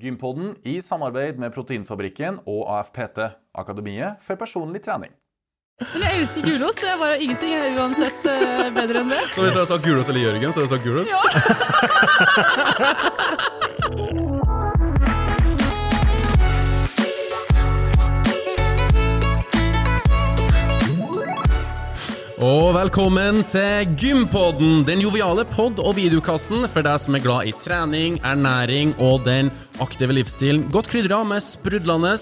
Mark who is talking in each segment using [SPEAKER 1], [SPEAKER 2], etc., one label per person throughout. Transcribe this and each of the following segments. [SPEAKER 1] Gympodden i samarbeid med Proteinfabrikken og AFPT, Akademiet for personlig trening.
[SPEAKER 2] Men jeg elsker gulost, og jeg bare ingenting er uansett eh, bedre enn det.
[SPEAKER 3] Så hvis jeg sa Gulos eller Jørgen, så hadde jeg sagt Gulos.
[SPEAKER 2] Ja.
[SPEAKER 3] Og velkommen til Gympodden, den joviale pod- og videokassen for deg som er glad i trening, ernæring og den aktive livsstilen. Godt krydra med sprudlende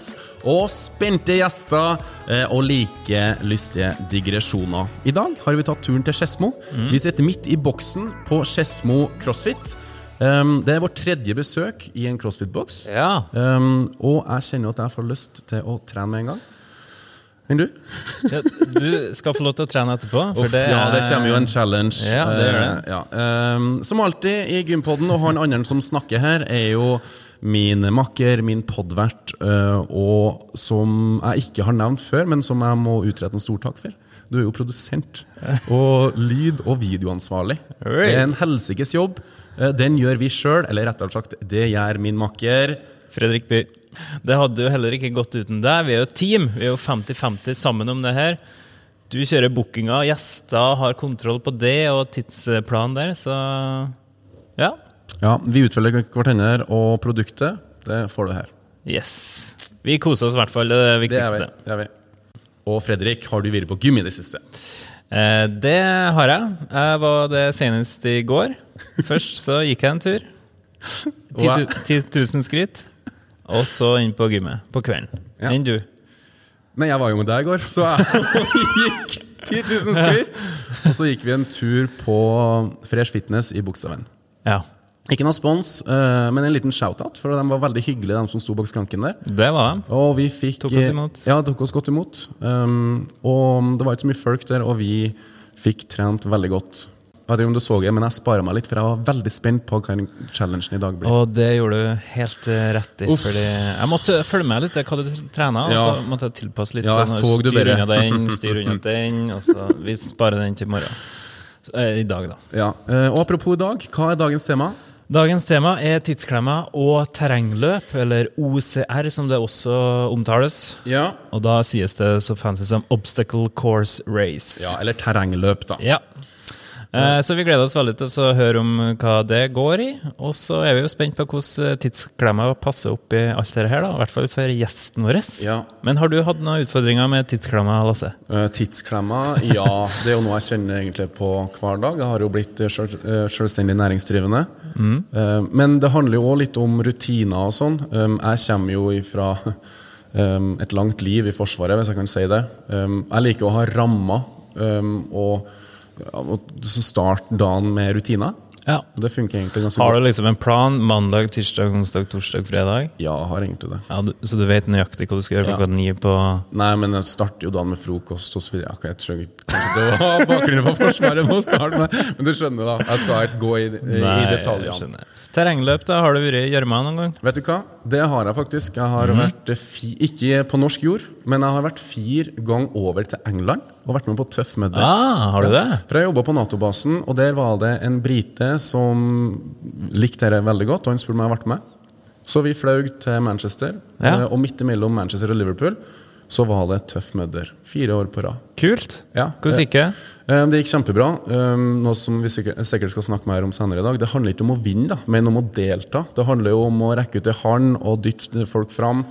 [SPEAKER 3] og spente gjester eh, og like lystige digresjoner. I dag har vi tatt turen til Skedsmo. Vi sitter midt i boksen på Skedsmo CrossFit. Um, det er vårt tredje besøk i en CrossFit-boks.
[SPEAKER 4] Ja.
[SPEAKER 3] Um, og jeg kjenner at jeg får lyst til å trene med en gang. Enn du?
[SPEAKER 4] ja, Eh, du skal få lov til å trene etterpå.
[SPEAKER 3] Uff, ja, det kommer jo en challenge.
[SPEAKER 4] Ja, det gjør det.
[SPEAKER 3] Eh, ja. Ehm, som alltid i Gympodden, og han andre som snakker her, er jo min makker, min podvert, eh, og som jeg ikke har nevnt før, men som jeg må utrette en stor takk for. Du er jo produsent og lyd- og videoansvarlig.
[SPEAKER 4] Oi.
[SPEAKER 3] Det er en helsikes jobb. Eh, Den gjør vi sjøl, eller rettere sagt, det gjør min makker.
[SPEAKER 4] Fredrik By. Det hadde jo heller ikke gått uten deg. Vi er jo et team. Vi er jo 50-50 sammen om det her. Du kjører bookinga, gjester har kontroll på det og tidsplanen der, så ja.
[SPEAKER 3] Ja, vi utfølger hverandre og produktet. Det får du her.
[SPEAKER 4] Yes. Vi koser oss i hvert fall, det er det
[SPEAKER 3] Det er vi.
[SPEAKER 4] viktigste.
[SPEAKER 3] Det er vi. Og Fredrik, har du vært på gym i det siste?
[SPEAKER 4] Eh, det har jeg. Jeg var det senest i går. Først så gikk jeg en tur. 10
[SPEAKER 3] Wow.
[SPEAKER 4] 000 skritt. Og så inn på gymmet på kvelden.
[SPEAKER 3] Ja.
[SPEAKER 4] Enn du?
[SPEAKER 3] Nei, jeg var jo med deg i går, så jeg gikk 10 000 skritt. Og så gikk vi en tur på Fresh Fitness i Bogstadveien.
[SPEAKER 4] Ja.
[SPEAKER 3] Ikke noen spons, eh, men en liten shout-out, for de var veldig hyggelige, de som sto bak skranken der.
[SPEAKER 4] Det var jeg.
[SPEAKER 3] Og vi fikk
[SPEAKER 4] Tok oss imot.
[SPEAKER 3] Ja, tok oss godt imot. Um, og det var ikke så mye folk der, og vi fikk trent veldig godt. Jeg vet ikke om du så det, men jeg sparer meg litt, for jeg var veldig spent på hva challengen i dag blir.
[SPEAKER 4] Og det gjorde du helt eh, rett i.
[SPEAKER 3] Uff.
[SPEAKER 4] Fordi jeg måtte følge med litt i hva du trener,
[SPEAKER 3] Ja.
[SPEAKER 4] og så måtte jeg tilpasse litt.
[SPEAKER 3] Ja, jeg
[SPEAKER 4] sånn,
[SPEAKER 3] så du
[SPEAKER 4] styr
[SPEAKER 3] bare.
[SPEAKER 4] unna den, styr unna den, og så vi sparer den til i morgen. Så, eh, I dag, da.
[SPEAKER 3] Ja. eh, og apropos i dag, hva er dagens tema?
[SPEAKER 4] Dagens tema er tidsklemmer og terrengløp, eller OCR, som det også omtales.
[SPEAKER 3] Ja.
[SPEAKER 4] Og da sies det så fancy som obstacle course race.
[SPEAKER 3] ja eller terrengløp, da.
[SPEAKER 4] Ja. Eh, Så vi gleder oss veldig til å høre om hva det går i. Og så er vi jo spent på hvordan eh, tidsklemma passer opp i alt dette her, da. I hvert fall for gjesten vår.
[SPEAKER 3] Ja.
[SPEAKER 4] Men har du hatt noen utfordringer med tidsklemma, Lasse?
[SPEAKER 3] Eh, Tidsklemma, ja. Det er jo noe jeg kjenner egentlig på hver dag. Jeg har jo blitt eh, sjøl- eh, selvstendig næringsdrivende. Eh, Men det handler jo òg litt om rutiner og sånn. Um, Jeg kommer jo ifra um, et langt liv i Forsvaret, hvis jeg kan si det. Um, Jeg liker å ha rammer um, og og så starte dagen med rutiner.
[SPEAKER 4] Ja.
[SPEAKER 3] Og Det funker egentlig ganske
[SPEAKER 4] Har
[SPEAKER 3] godt.
[SPEAKER 4] du liksom en plan mandag, tirsdag, onsdag, torsdag, fredag?
[SPEAKER 3] Ja, jeg har egentlig det.
[SPEAKER 4] Ja, du, så du vet nøyaktig hva du skal gjøre
[SPEAKER 3] Ja.
[SPEAKER 4] klokka ni på
[SPEAKER 3] Nei, men jeg starter jo dagen med frokost og så videre. Ok, Jeg trenger ikke kanskje det var bakgrunnen for Forsvaret med å starte med, men du skjønner, da. Jeg skal ikke gå i, i,
[SPEAKER 4] Nei,
[SPEAKER 3] i
[SPEAKER 4] jeg
[SPEAKER 3] detaljene.
[SPEAKER 4] skjønner. Terrengløp, da? Har du vært i gjørma noen gang?
[SPEAKER 3] Vet du hva? Det har jeg faktisk. Jeg
[SPEAKER 4] Mhm.
[SPEAKER 3] har vært fi, Ikke på norsk jord, men jeg har vært fire ganger over til England og vært med på Tøff Mudder.
[SPEAKER 4] Ah, har du det?
[SPEAKER 3] For jeg jobba på Nato-basen, og der var det en brite som likte dette veldig godt, og han spurte om jeg har vært med. Så vi fløy til Manchester,
[SPEAKER 4] Ja.
[SPEAKER 3] eh, og midt imellom Manchester og Liverpool så var det Tøff Mudder. Fire år på rad.
[SPEAKER 4] Kult.
[SPEAKER 3] Ja.
[SPEAKER 4] Hvordan gikk det?
[SPEAKER 3] Eh, Det gikk kjempebra. eh, Noe som vi sikkert, sikkert skal snakke mer om senere i dag. Det handler ikke om å vinne, da, men om å delta. Det handler jo om å rekke ut en hånd og dytte folk fram.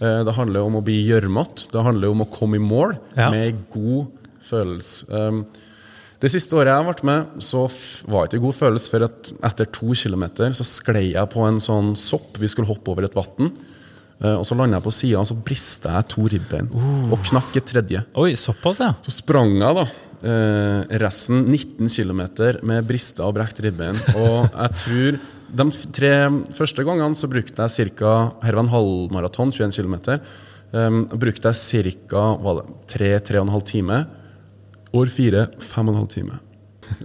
[SPEAKER 3] Eh, Det handler om å bli gjørmete. Det handler om å komme i mål
[SPEAKER 4] Ja.
[SPEAKER 3] med en god følelse. Um, Det siste året jeg ble med, så f- var det ikke en god følelse, for at etter to kilometer så sklei jeg på en sånn sopp. Vi skulle hoppe over et vann. eh, Og så landa jeg på sida, og så brista jeg to ribbein. Og knakk et tredje.
[SPEAKER 4] Oi, såpass, ja.
[SPEAKER 3] Så sprang jeg da eh, resten 19 km med brista og brekt ribbein. Og jeg tror De f- tre første gangene så brukte jeg ca. Her var en halvmaraton, 21 km. Um, brukte jeg ca. 3-3,5 timer. År 4, 5,5 timer.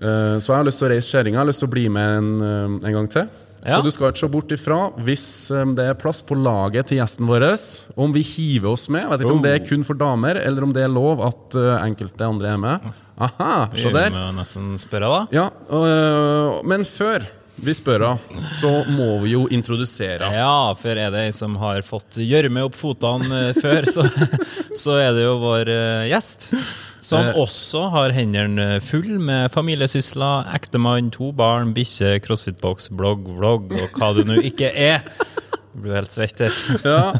[SPEAKER 3] Eh, så jeg har lyst til å reise kjerringa. Jeg har lyst til å bli med en, eh, en gang til.
[SPEAKER 4] Ja.
[SPEAKER 3] Så du skal ikke se bort ifra hvis eh, det er plass på laget til gjesten vår, om vi hiver oss med. Jeg vet ikke om det er kun for damer, eller om det er lov at eh, enkelte andre er med. Aha, se
[SPEAKER 4] Vi
[SPEAKER 3] der.
[SPEAKER 4] må nesten spørre, da.
[SPEAKER 3] Ja, øh, men før vi spør henne, så må vi jo introdusere henne.
[SPEAKER 4] Ja, for er det ei som har fått gjørme opp fotene eh, før, så, så er det jo vår eh, gjest. Som
[SPEAKER 3] Eh.
[SPEAKER 4] også har hendene full med familiesysler, ektemann, to barn, bikkje, crossfitboks, blogg, vlogg og hva det nå ikke er. Jeg blir jo helt svett her.
[SPEAKER 3] Ja.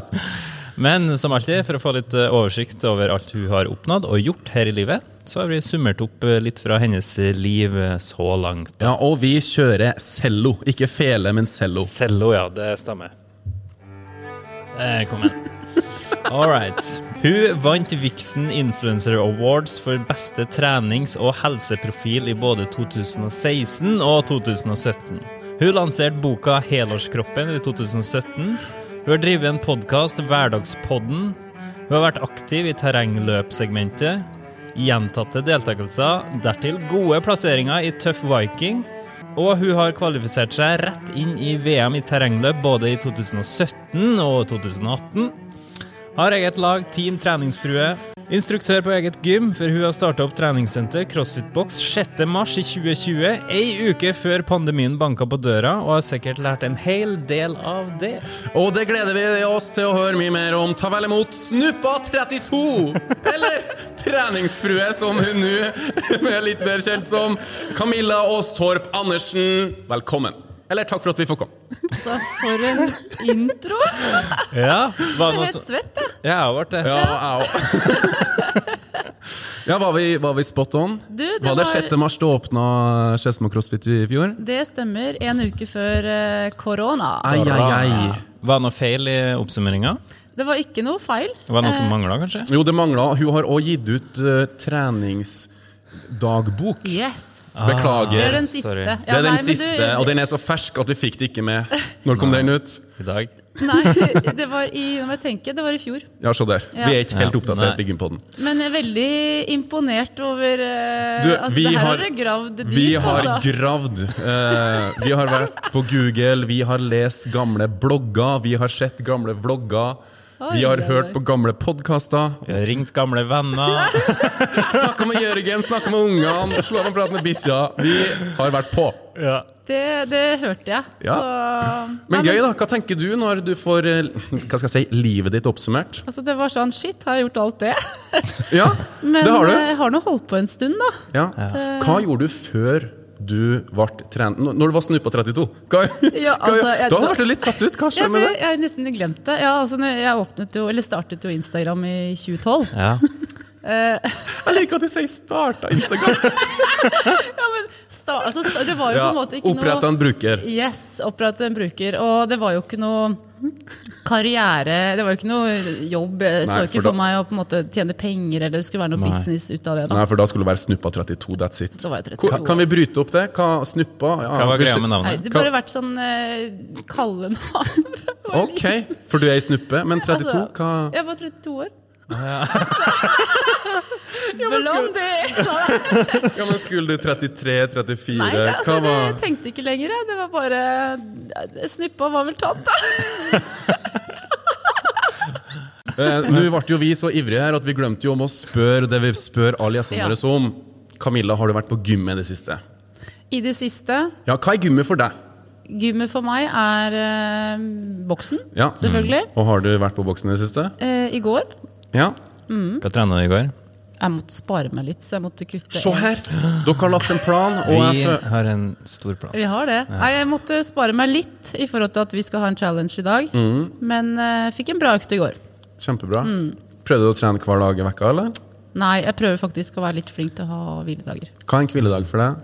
[SPEAKER 4] Men som alltid, for å få litt eh, oversikt over alt hun har oppnådd og gjort her i livet, så har vi summert opp eh, litt fra hennes liv eh, så langt.
[SPEAKER 3] ja, og vi kjører cello. Ikke fele, men cello.
[SPEAKER 4] Cello, ja. Det stemmer. Der Eh, kom den. All right. Hun vant Vixen Influencer Awards for beste trenings- og helseprofil i både 2016 og 2017. Hun lanserte boka Helårskroppen i 2017. Hun har drevet en podkast, Hverdagspodden. Hun har vært aktiv i terrengløpsegmentet. Gjentatte deltakelser, dertil gode plasseringer i Tøff Viking. Og hun har kvalifisert seg rett inn i VM i terrengløp både i 2017 og 2018. Har eget lag, Team Treningsfrue. Instruktør på eget gym, for hun har starta opp treningssenter CrossFitbox 6.3 i 2020, ei uke før pandemien banka på døra, og har sikkert lært en hel del av det.
[SPEAKER 3] Og det gleder vi oss til å høre mye mer om. Ta vel imot Snuppa32! Eller treningsfrue, som hun nå er litt mer kjent som. Camilla Aastorp Andersen, velkommen. Eller takk for at vi får komme.
[SPEAKER 2] Altså, for en intro!
[SPEAKER 4] Ja, var
[SPEAKER 2] Jeg er
[SPEAKER 4] noe
[SPEAKER 2] helt
[SPEAKER 4] så...
[SPEAKER 2] svett, jeg.
[SPEAKER 4] Ja, jeg ble det.
[SPEAKER 3] Ja, jeg òg. Ja, var vi, var vi spot on?
[SPEAKER 2] Du, det
[SPEAKER 3] var det
[SPEAKER 2] var-
[SPEAKER 3] 6. mars det åpna Skedsmo CrossFit i fjor?
[SPEAKER 2] Det stemmer. En uke før eh, korona.
[SPEAKER 3] Ai, ai, ai.
[SPEAKER 4] Var det noe feil i oppsummeringa?
[SPEAKER 2] Det var ikke noe feil.
[SPEAKER 4] Var det noe
[SPEAKER 2] Eh,
[SPEAKER 4] som mangla, kanskje?
[SPEAKER 3] Jo, det mangla. Hun har òg gitt ut eh, treningsdagbok.
[SPEAKER 2] Yes!
[SPEAKER 3] Beklager.
[SPEAKER 2] Det er den
[SPEAKER 4] sorry.
[SPEAKER 2] siste.
[SPEAKER 4] Det
[SPEAKER 2] Ja,
[SPEAKER 4] er
[SPEAKER 3] det er den
[SPEAKER 2] nei, men du-
[SPEAKER 3] siste, og den er så fersk at vi fikk det ikke med. Når kom den ut?
[SPEAKER 4] I dag?
[SPEAKER 2] Nei, det var i, nå må jeg tenke, det var i fjor.
[SPEAKER 3] Ja, se der.
[SPEAKER 2] Ja.
[SPEAKER 3] Vi er ikke helt
[SPEAKER 4] Ja,
[SPEAKER 3] oppdatert i
[SPEAKER 4] nei.
[SPEAKER 3] Gympodden.
[SPEAKER 2] Men jeg er veldig imponert over eh,
[SPEAKER 3] Du,
[SPEAKER 2] altså,
[SPEAKER 3] vi
[SPEAKER 2] Det her
[SPEAKER 3] har-
[SPEAKER 2] har dere gravd dypt,
[SPEAKER 3] Vi har
[SPEAKER 2] altså.
[SPEAKER 3] gravd. eh, vi har vært på Google, vi har lest gamle blogger, vi har sett gamle vlogger. Vi har
[SPEAKER 2] Oi, oi,
[SPEAKER 3] hørt
[SPEAKER 2] oi.
[SPEAKER 3] på gamle podkaster.
[SPEAKER 4] Vi har ringt gamle venner.
[SPEAKER 3] Snakka med Jørgen, snakka med ungene, slå av en prat med bikkja. Vi har vært på.
[SPEAKER 4] Ja.
[SPEAKER 2] Det, det hørte jeg.
[SPEAKER 3] Ja.
[SPEAKER 2] Så,
[SPEAKER 3] Men
[SPEAKER 2] Nei,
[SPEAKER 3] gøy, da. Hva tenker du når du får eh, hva skal jeg si, livet ditt oppsummert?
[SPEAKER 2] Altså, det var sånn Shit, har jeg gjort alt det?
[SPEAKER 3] Ja,
[SPEAKER 2] Men
[SPEAKER 3] det har du.
[SPEAKER 2] eh, jeg har nå holdt på en stund, da.
[SPEAKER 3] Ja. Hva gjorde du før du ble trent N- Når du var snuppa 32? Hva, hva-
[SPEAKER 2] Ja, altså, jeg-
[SPEAKER 3] da ble du litt satt ut, hva skjer
[SPEAKER 2] Jeg,
[SPEAKER 3] med
[SPEAKER 2] jeg,
[SPEAKER 3] det?
[SPEAKER 2] jeg har nesten glemt det. Ja, altså, når jeg åpnet jo, eller startet jo Instagram i 2012.
[SPEAKER 4] Ja.
[SPEAKER 3] Jeg liker at du sier 'starta Instagram'.
[SPEAKER 2] Ja, men sta, altså, sta- det var jo
[SPEAKER 3] Ja,
[SPEAKER 2] på en måte ikke
[SPEAKER 3] Oppretta
[SPEAKER 2] noe
[SPEAKER 3] en bruker.
[SPEAKER 2] Yes, opprette en bruker. Og det var jo ikke noe karriere Det var jo ikke noe jobb. Jeg så
[SPEAKER 3] Nei,
[SPEAKER 2] ikke
[SPEAKER 3] for da-
[SPEAKER 2] for meg å på en måte tjene penger eller det skulle være noe business ut av det. da
[SPEAKER 3] Nei, for da skulle du være snuppa 32. That's it.
[SPEAKER 2] Da var jeg 32
[SPEAKER 3] Ka- Kan vi bryte opp det? Hva snuppa? Ja,
[SPEAKER 4] Hva var
[SPEAKER 3] vi
[SPEAKER 4] greia
[SPEAKER 3] skj-
[SPEAKER 4] med
[SPEAKER 2] Nei,
[SPEAKER 4] navnet?
[SPEAKER 2] det burde vært sånn eh, kallenavn.
[SPEAKER 3] Ok, for du er ei snuppe, men 32,
[SPEAKER 2] Altså,
[SPEAKER 3] hva
[SPEAKER 2] Jeg var 32 år. Blondie!
[SPEAKER 3] Ja, men skulle du 33, 34?
[SPEAKER 2] Nei, det, altså,
[SPEAKER 3] hva var
[SPEAKER 2] det tenkte ikke lenger. jeg. Det var bare Snuppa var vel tatt, da.
[SPEAKER 3] Eh, Nå ble jo vi så ivrige her at vi glemte jo om å spørre det vi spør alle gjestene
[SPEAKER 2] Ja.
[SPEAKER 3] våre om. Camilla, har du vært på gym i det siste?
[SPEAKER 2] I det siste.
[SPEAKER 3] Ja, hva er gymmet for deg?
[SPEAKER 2] Gymmet for meg er eh, boksen,
[SPEAKER 3] Ja. Mm.
[SPEAKER 2] selvfølgelig.
[SPEAKER 3] Og har du vært på boksen i det siste?
[SPEAKER 2] Eh, I går
[SPEAKER 3] Ja.
[SPEAKER 4] Hva trena du i går?
[SPEAKER 2] Jeg måtte spare meg litt, så jeg måtte kutte.
[SPEAKER 3] Se
[SPEAKER 2] en-
[SPEAKER 3] her! Dere har lagt en plan, og
[SPEAKER 4] Vi
[SPEAKER 3] jeg fø-
[SPEAKER 4] har en stor plan.
[SPEAKER 2] Vi har det. Nei, jeg måtte spare meg litt i forhold til at vi skal ha en challenge i dag.
[SPEAKER 3] Mm.
[SPEAKER 2] Men eh, fikk en bra økt i går.
[SPEAKER 3] Kjempebra.
[SPEAKER 2] Mm.
[SPEAKER 3] Prøvde du å trene hver dag i vekka, eller?
[SPEAKER 2] Nei, jeg prøver faktisk å være litt flink til å ha hviledager.
[SPEAKER 3] Hva er en hviledag for deg?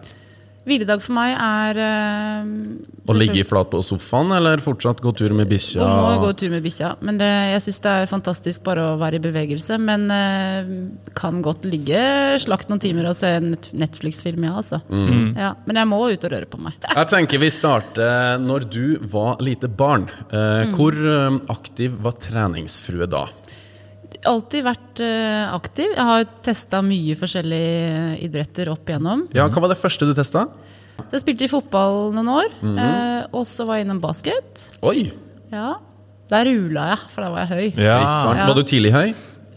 [SPEAKER 2] Hviledag for meg er eh,
[SPEAKER 3] Å ligge i flat på sofaen, eller fortsatt gå tur med
[SPEAKER 2] selvfølgelig-
[SPEAKER 3] bikkja?
[SPEAKER 2] Og må gå tur med bikkja. Men det, jeg syns det er fantastisk bare å være i bevegelse. Men eh, kan godt ligge, slakt noen timer og se en net- Netflix-film, ja, altså. Ja, men jeg må ut og røre på meg.
[SPEAKER 3] Jeg tenker vi starter når du var lite barn. Eh,
[SPEAKER 2] Mm.
[SPEAKER 3] Hvor eh, aktiv var treningsfrue da?
[SPEAKER 2] Alltid vært eh, aktiv. Jeg har testa mye forskjellige eh, idretter opp igjennom.
[SPEAKER 3] Ja, Hva var det første du testa?
[SPEAKER 2] Så jeg spilte i fotball noen år, eh, og så var jeg innom basket.
[SPEAKER 3] Oi!
[SPEAKER 2] Ja. Der rula jeg, for da var jeg høy.
[SPEAKER 4] Ja.
[SPEAKER 3] Ikke sant?
[SPEAKER 2] Ja.
[SPEAKER 3] Var du tidlig høy?